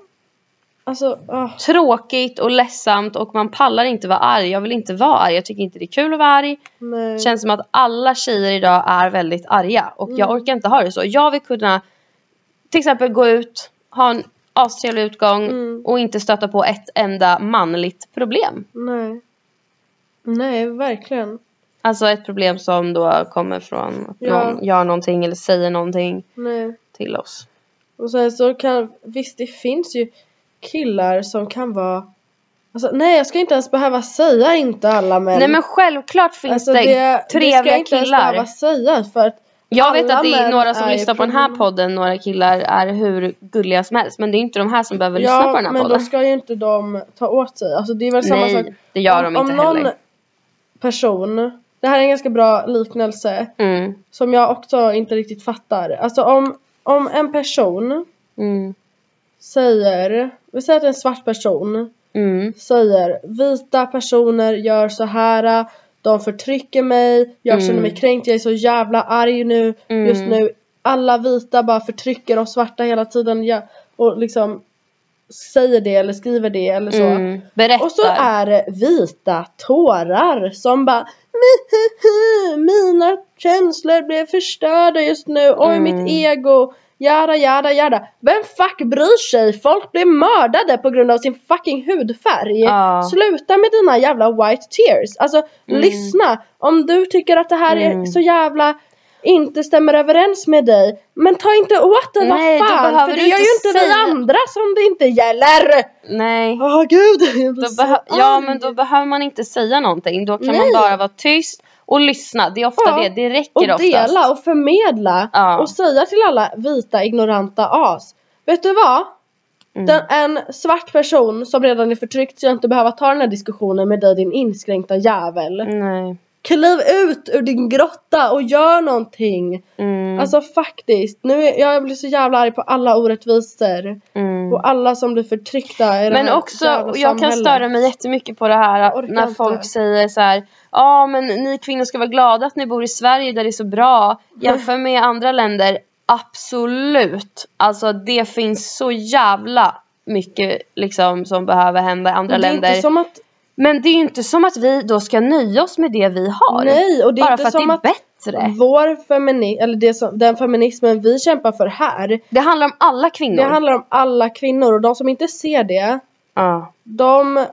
[SPEAKER 1] Alltså, ah,
[SPEAKER 2] Tråkigt och ledsamt och man pallar inte vara arg. Jag vill inte vara arg. Jag tycker inte det är kul att vara arg.
[SPEAKER 1] nej.
[SPEAKER 2] Det känns som att alla tjejer idag är väldigt arga och jag
[SPEAKER 1] Mm.
[SPEAKER 2] orkar inte ha det så. Jag vill kunna till exempel gå ut, ha en astrevlig utgång
[SPEAKER 1] Mm.
[SPEAKER 2] och inte stöta på ett enda manligt problem.
[SPEAKER 1] nej. Nej, verkligen.
[SPEAKER 2] Alltså ett problem som då kommer från att
[SPEAKER 1] Ja.
[SPEAKER 2] någon gör någonting eller säger någonting
[SPEAKER 1] Nej.
[SPEAKER 2] till oss.
[SPEAKER 1] Och sen så kan, visst det finns ju killar som kan vara Alltså nej jag ska inte ens behöva säga inte alla men
[SPEAKER 2] Nej men självklart finns
[SPEAKER 1] alltså,
[SPEAKER 2] det,
[SPEAKER 1] det ska
[SPEAKER 2] trevliga
[SPEAKER 1] jag inte ens
[SPEAKER 2] killar.
[SPEAKER 1] behöva säga för att
[SPEAKER 2] Jag vet
[SPEAKER 1] Alla
[SPEAKER 2] att det är
[SPEAKER 1] män
[SPEAKER 2] några som
[SPEAKER 1] är
[SPEAKER 2] lyssnar på den här
[SPEAKER 1] problem.
[SPEAKER 2] podden, några killar är hur gulliga som helst. Men det är inte de här som behöver lyssna på den här
[SPEAKER 1] men då
[SPEAKER 2] podden.
[SPEAKER 1] ska ju inte de ta åt sig. Alltså det är väl samma sak.
[SPEAKER 2] Nej, det gör de
[SPEAKER 1] om
[SPEAKER 2] inte
[SPEAKER 1] någon
[SPEAKER 2] heller.
[SPEAKER 1] person, det här är en ganska bra liknelse
[SPEAKER 2] Mm,
[SPEAKER 1] som jag också inte riktigt fattar. Alltså om, om en person
[SPEAKER 2] mm,
[SPEAKER 1] säger, vi säger att en svart person
[SPEAKER 2] mm.
[SPEAKER 1] säger vita personer gör så här, de förtrycker mig, jag
[SPEAKER 2] Mm.
[SPEAKER 1] känner mig kränkt, jag är så jävla arg nu,
[SPEAKER 2] Mm.
[SPEAKER 1] just nu. Alla vita bara förtrycker de svarta hela tiden jag, och liksom säger det eller skriver det eller så.
[SPEAKER 2] Mm. Berättar.
[SPEAKER 1] Och så är det vita tårar som bara "Mihihi, Mina känslor blev förstörda just nu, oj
[SPEAKER 2] Mm.
[SPEAKER 1] mitt ego Jada jada jada Vem fuck bryr sig? Folk blir mördade på grund av sin fucking hudfärg
[SPEAKER 2] Ja.
[SPEAKER 1] Sluta med dina jävla white tears Alltså lyssna Om du tycker att det här är
[SPEAKER 2] Mm.
[SPEAKER 1] så jävla inte stämmer överens med dig Men ta inte åt dig,
[SPEAKER 2] Nej, då
[SPEAKER 1] vad fan!
[SPEAKER 2] behöver
[SPEAKER 1] För det
[SPEAKER 2] du
[SPEAKER 1] gör ju
[SPEAKER 2] inte
[SPEAKER 1] inte
[SPEAKER 2] säga-
[SPEAKER 1] vi andra som det inte gäller!
[SPEAKER 2] Nej.
[SPEAKER 1] Åh gud! jag blir
[SPEAKER 2] Då
[SPEAKER 1] så Ah.
[SPEAKER 2] behö- ja
[SPEAKER 1] arg.
[SPEAKER 2] men då behöver man inte säga någonting. Då kan
[SPEAKER 1] Nej.
[SPEAKER 2] man bara vara tyst och lyssna. Det är ofta
[SPEAKER 1] Ja.
[SPEAKER 2] det. Det räcker
[SPEAKER 1] Och
[SPEAKER 2] oftast.
[SPEAKER 1] dela och förmedla
[SPEAKER 2] Ja.
[SPEAKER 1] och säga till alla vita ignoranta as. Vet du vad?
[SPEAKER 2] Mm.
[SPEAKER 1] Den, en svart person som redan är förtryckt ska inte behöva ta den här diskussionen med dig din inskränkta jävel.
[SPEAKER 2] Mm. Nej.
[SPEAKER 1] Kliv ut ur din grotta och gör någonting.
[SPEAKER 2] Mm.
[SPEAKER 1] Alltså faktiskt, nu är, jag blir så jävla arg på alla orättvisor
[SPEAKER 2] mm.
[SPEAKER 1] och alla som blir förtryckta i det
[SPEAKER 2] Men
[SPEAKER 1] här
[SPEAKER 2] också,
[SPEAKER 1] jävla
[SPEAKER 2] och jag kan
[SPEAKER 1] samhället.
[SPEAKER 2] störa mig jättemycket på det
[SPEAKER 1] Jag
[SPEAKER 2] här
[SPEAKER 1] orkar
[SPEAKER 2] när
[SPEAKER 1] inte.
[SPEAKER 2] folk säger så här. Ja men ni kvinnor ska vara glada att ni bor i Sverige där det är så bra jämfört med andra länder. Absolut! Alltså det finns så jävla mycket liksom som behöver hända i andra
[SPEAKER 1] Men det är
[SPEAKER 2] länder.
[SPEAKER 1] inte som att
[SPEAKER 2] Men det är ju inte som att vi då ska nöja oss med det vi har.
[SPEAKER 1] Nej, och det är
[SPEAKER 2] bara
[SPEAKER 1] inte
[SPEAKER 2] för att
[SPEAKER 1] som
[SPEAKER 2] det är
[SPEAKER 1] att- Mm.
[SPEAKER 2] bättre.
[SPEAKER 1] vår feminism, eller det som, den feminismen vi kämpar för här
[SPEAKER 2] Det handlar om alla kvinnor.
[SPEAKER 1] Det handlar om alla kvinnor och de som inte ser det,
[SPEAKER 2] ja.
[SPEAKER 1] de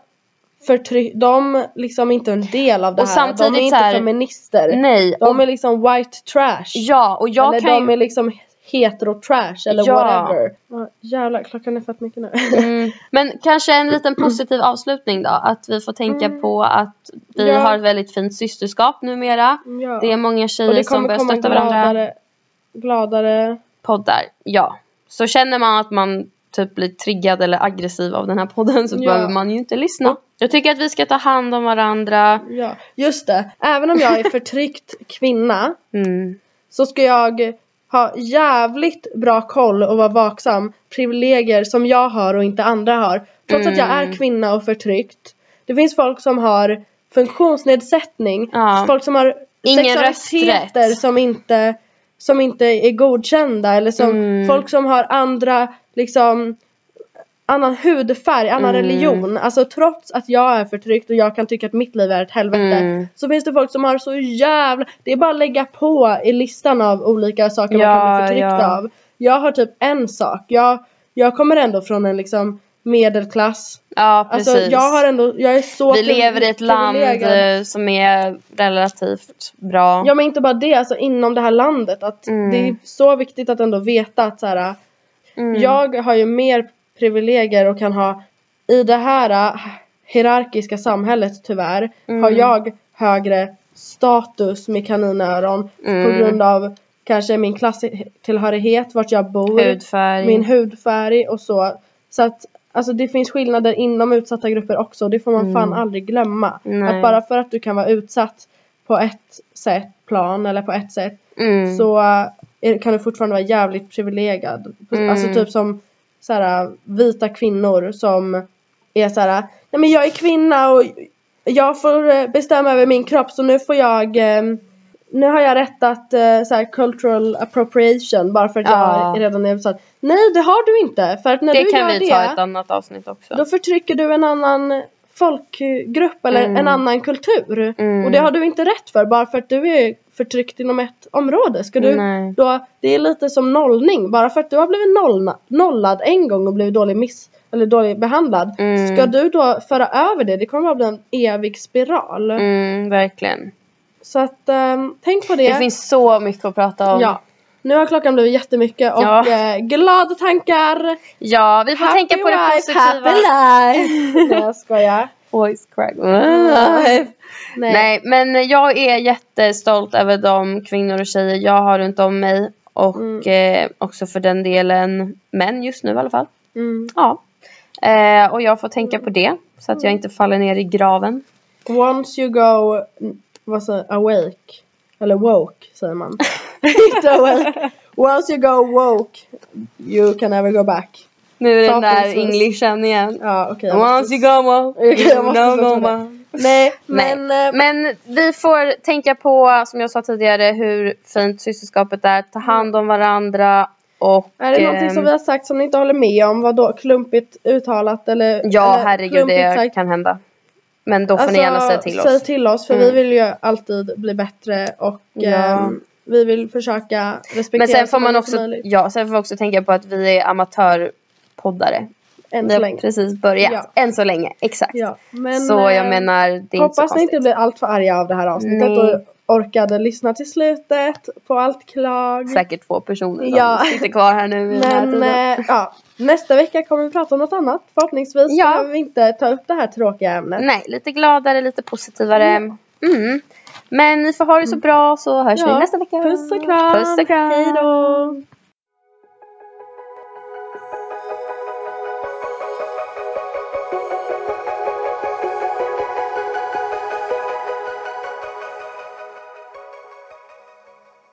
[SPEAKER 1] förtryck, de liksom inte är en del av det
[SPEAKER 2] Och
[SPEAKER 1] här. de är
[SPEAKER 2] samtidigt
[SPEAKER 1] inte
[SPEAKER 2] så här-
[SPEAKER 1] feminister.
[SPEAKER 2] Nej.
[SPEAKER 1] De
[SPEAKER 2] och-
[SPEAKER 1] är liksom white trash.
[SPEAKER 2] Ja, och jag
[SPEAKER 1] eller
[SPEAKER 2] kan
[SPEAKER 1] de
[SPEAKER 2] ju...
[SPEAKER 1] är liksom hetero trash eller
[SPEAKER 2] Ja.
[SPEAKER 1] whatever. Ja, jävlar, klockan är fett mycket nu.
[SPEAKER 2] Mm. Men kanske en liten positiv avslutning då. Att vi får tänka
[SPEAKER 1] Mm.
[SPEAKER 2] på att vi
[SPEAKER 1] Ja.
[SPEAKER 2] har ett väldigt fint systerskap numera.
[SPEAKER 1] ja.
[SPEAKER 2] Det är många
[SPEAKER 1] och
[SPEAKER 2] tjejer
[SPEAKER 1] det
[SPEAKER 2] som
[SPEAKER 1] kommer
[SPEAKER 2] börjar
[SPEAKER 1] komma
[SPEAKER 2] stötta varandra.
[SPEAKER 1] gladare, gladare.
[SPEAKER 2] Poddar. Ja. Så känner man att man typ blir triggad eller aggressiv av den här podden så
[SPEAKER 1] Ja.
[SPEAKER 2] behöver man ju inte lyssna. Jag tycker att vi ska ta hand om varandra.
[SPEAKER 1] Ja, just det. Även om jag är förtryckt kvinna
[SPEAKER 2] Mm.
[SPEAKER 1] så ska jag ha jävligt bra koll och vara vaksam. Privilegier som jag har och inte andra har. Trots att jag är
[SPEAKER 2] Mm.
[SPEAKER 1] kvinna och förtryckt. Det finns folk som har funktionsnedsättning.
[SPEAKER 2] Ja.
[SPEAKER 1] Folk som har
[SPEAKER 2] Ingen
[SPEAKER 1] sexualiteter
[SPEAKER 2] rösträtt.
[SPEAKER 1] som inte, som inte är godkända. Eller som
[SPEAKER 2] Mm.
[SPEAKER 1] folk som har andra liksom annan hudfärg, annan
[SPEAKER 2] Mm.
[SPEAKER 1] religion. Alltså trots att jag är förtryckt och jag kan tycka att mitt liv är ett helvete.
[SPEAKER 2] Mm.
[SPEAKER 1] Så finns det folk som har så jävla... Det är bara att lägga på i listan av olika saker man
[SPEAKER 2] Ja,
[SPEAKER 1] kan bli förtryckt
[SPEAKER 2] ja.
[SPEAKER 1] av. Jag har typ en sak. Jag, jag kommer ändå från en liksom medelklass.
[SPEAKER 2] Ja, precis.
[SPEAKER 1] Alltså jag har ändå... Jag är så...
[SPEAKER 2] Vi
[SPEAKER 1] privi-
[SPEAKER 2] lever i ett land
[SPEAKER 1] privilegierad.
[SPEAKER 2] eh, som är relativt bra.
[SPEAKER 1] Ja men inte bara det, alltså inom det här landet. Att
[SPEAKER 2] Mm.
[SPEAKER 1] Det är så viktigt att ändå veta att så här,
[SPEAKER 2] Mm.
[SPEAKER 1] jag har ju mer privilegier och kan ha i det här äh, hierarkiska samhället tyvärr
[SPEAKER 2] Mm.
[SPEAKER 1] har jag högre status med kaninöron
[SPEAKER 2] Mm.
[SPEAKER 1] på grund av kanske min klasstillhörighet, vart jag bor,
[SPEAKER 2] Hudfärg.
[SPEAKER 1] min hudfärg och så. Så att alltså det finns skillnader inom utsatta grupper också och det får man
[SPEAKER 2] Mm.
[SPEAKER 1] fan aldrig glömma.
[SPEAKER 2] Nej.
[SPEAKER 1] Att bara för att du kan vara utsatt på ett sätt, plan eller på ett sätt
[SPEAKER 2] mm.
[SPEAKER 1] så eh, är- kan du fortfarande vara jävligt privilegierad.
[SPEAKER 2] Mm.
[SPEAKER 1] Alltså typ som så här, vita kvinnor som är så här, nej men jag är kvinna och jag får eh, bestämma över min kropp så nu får jag eh, nu har jag rätt att eh, så här, cultural appropriation bara för att
[SPEAKER 2] Ja.
[SPEAKER 1] jag redan är utsatt. Nej det har du inte för att när
[SPEAKER 2] det
[SPEAKER 1] du
[SPEAKER 2] kan
[SPEAKER 1] gör
[SPEAKER 2] vi
[SPEAKER 1] det
[SPEAKER 2] ta ett annat avsnitt också.
[SPEAKER 1] då förtrycker du en annan folkgrupp eller
[SPEAKER 2] Mm.
[SPEAKER 1] en annan kultur.
[SPEAKER 2] Mm.
[SPEAKER 1] Och det har du inte rätt för bara för att du är förtryckt inom ett område. Ska du
[SPEAKER 2] Nej.
[SPEAKER 1] då, det är lite som nollning. Bara för att du har blivit nollna, nollad en gång och blivit dålig miss eller dålig behandlad.
[SPEAKER 2] Mm.
[SPEAKER 1] Ska du då föra över det? Det kommer bara bli en evig spiral.
[SPEAKER 2] Mm, verkligen.
[SPEAKER 1] Så att ehm, tänk på det.
[SPEAKER 2] Det finns så mycket att prata om.
[SPEAKER 1] ja. Nu har klockan blivit jättemycket och
[SPEAKER 2] Ja.
[SPEAKER 1] eh, glada tankar.
[SPEAKER 2] Ja, vi får tänka på det
[SPEAKER 1] wife, Happy
[SPEAKER 2] positiva.
[SPEAKER 1] life. Nej jag skojar.
[SPEAKER 2] Voice crack. Ah.
[SPEAKER 1] Nej.
[SPEAKER 2] Nej, men jag är jättestolt över de kvinnor och tjejer jag har runt om mig. Och
[SPEAKER 1] Mm.
[SPEAKER 2] eh, också för den delen män just nu i alla fall.
[SPEAKER 1] Mm.
[SPEAKER 2] Ja. Eh, och jag får tänka på det. Så att jag inte faller ner i graven.
[SPEAKER 1] Once you go vad säger, awake, eller woke säger man. Inte awake. Once you go woke, you can never go back.
[SPEAKER 2] Nu är den där
[SPEAKER 1] Förhoppningsvis.
[SPEAKER 2] englishen igen.
[SPEAKER 1] Ja okej. jag måste-
[SPEAKER 2] Once you go one,
[SPEAKER 1] Okej,
[SPEAKER 2] you
[SPEAKER 1] jag måste
[SPEAKER 2] know
[SPEAKER 1] sluta
[SPEAKER 2] no
[SPEAKER 1] med det.
[SPEAKER 2] one.
[SPEAKER 1] Nej
[SPEAKER 2] Nej.
[SPEAKER 1] men, eh,
[SPEAKER 2] Men vi får tänka på, som jag sa tidigare, hur fint systerskapet är. Ta hand om varandra och...
[SPEAKER 1] Mm. är det någonting
[SPEAKER 2] Ehm.
[SPEAKER 1] som vi har sagt som ni inte håller med om? Vad då? Klumpigt uttalat eller?
[SPEAKER 2] Ja,
[SPEAKER 1] eller Alltså,
[SPEAKER 2] herregud, det kan hända. Men då får ni gärna säga till
[SPEAKER 1] Säg
[SPEAKER 2] oss.
[SPEAKER 1] till oss för
[SPEAKER 2] Mm.
[SPEAKER 1] vi vill ju alltid bli bättre och
[SPEAKER 2] Ja.
[SPEAKER 1] ehm, vi vill försöka respektera
[SPEAKER 2] Men sen
[SPEAKER 1] så
[SPEAKER 2] får man
[SPEAKER 1] många
[SPEAKER 2] också,
[SPEAKER 1] som möjligt,
[SPEAKER 2] ja, sen får vi också tänka på att vi är amatörpoddare.
[SPEAKER 1] än
[SPEAKER 2] Vi
[SPEAKER 1] så
[SPEAKER 2] har
[SPEAKER 1] länge.
[SPEAKER 2] precis börjat.
[SPEAKER 1] Ja.
[SPEAKER 2] Än så länge, exakt.
[SPEAKER 1] Ja, men,
[SPEAKER 2] så jag
[SPEAKER 1] ehm,
[SPEAKER 2] menar, det är inte så
[SPEAKER 1] Hoppas ni
[SPEAKER 2] konstigt.
[SPEAKER 1] inte blir alltför arga av det här avsnittet
[SPEAKER 2] Nej.
[SPEAKER 1] och orkade lyssna till slutet på allt klag.
[SPEAKER 2] Säkert två personer som
[SPEAKER 1] Ja.
[SPEAKER 2] sitter kvar här nu i den här
[SPEAKER 1] Men
[SPEAKER 2] tiden.
[SPEAKER 1] eh, ja, nästa vecka kommer vi prata om något annat. Förhoppningsvis
[SPEAKER 2] Ja.
[SPEAKER 1] behöver vi inte ta upp det här tråkiga ämnet.
[SPEAKER 2] Nej, lite gladare, lite positivare. Mm. Men ni får ha det så bra så hörs vi
[SPEAKER 1] Ja.
[SPEAKER 2] nästa vecka.
[SPEAKER 1] Puss och kram!
[SPEAKER 2] Puss och kram.
[SPEAKER 1] Hej då!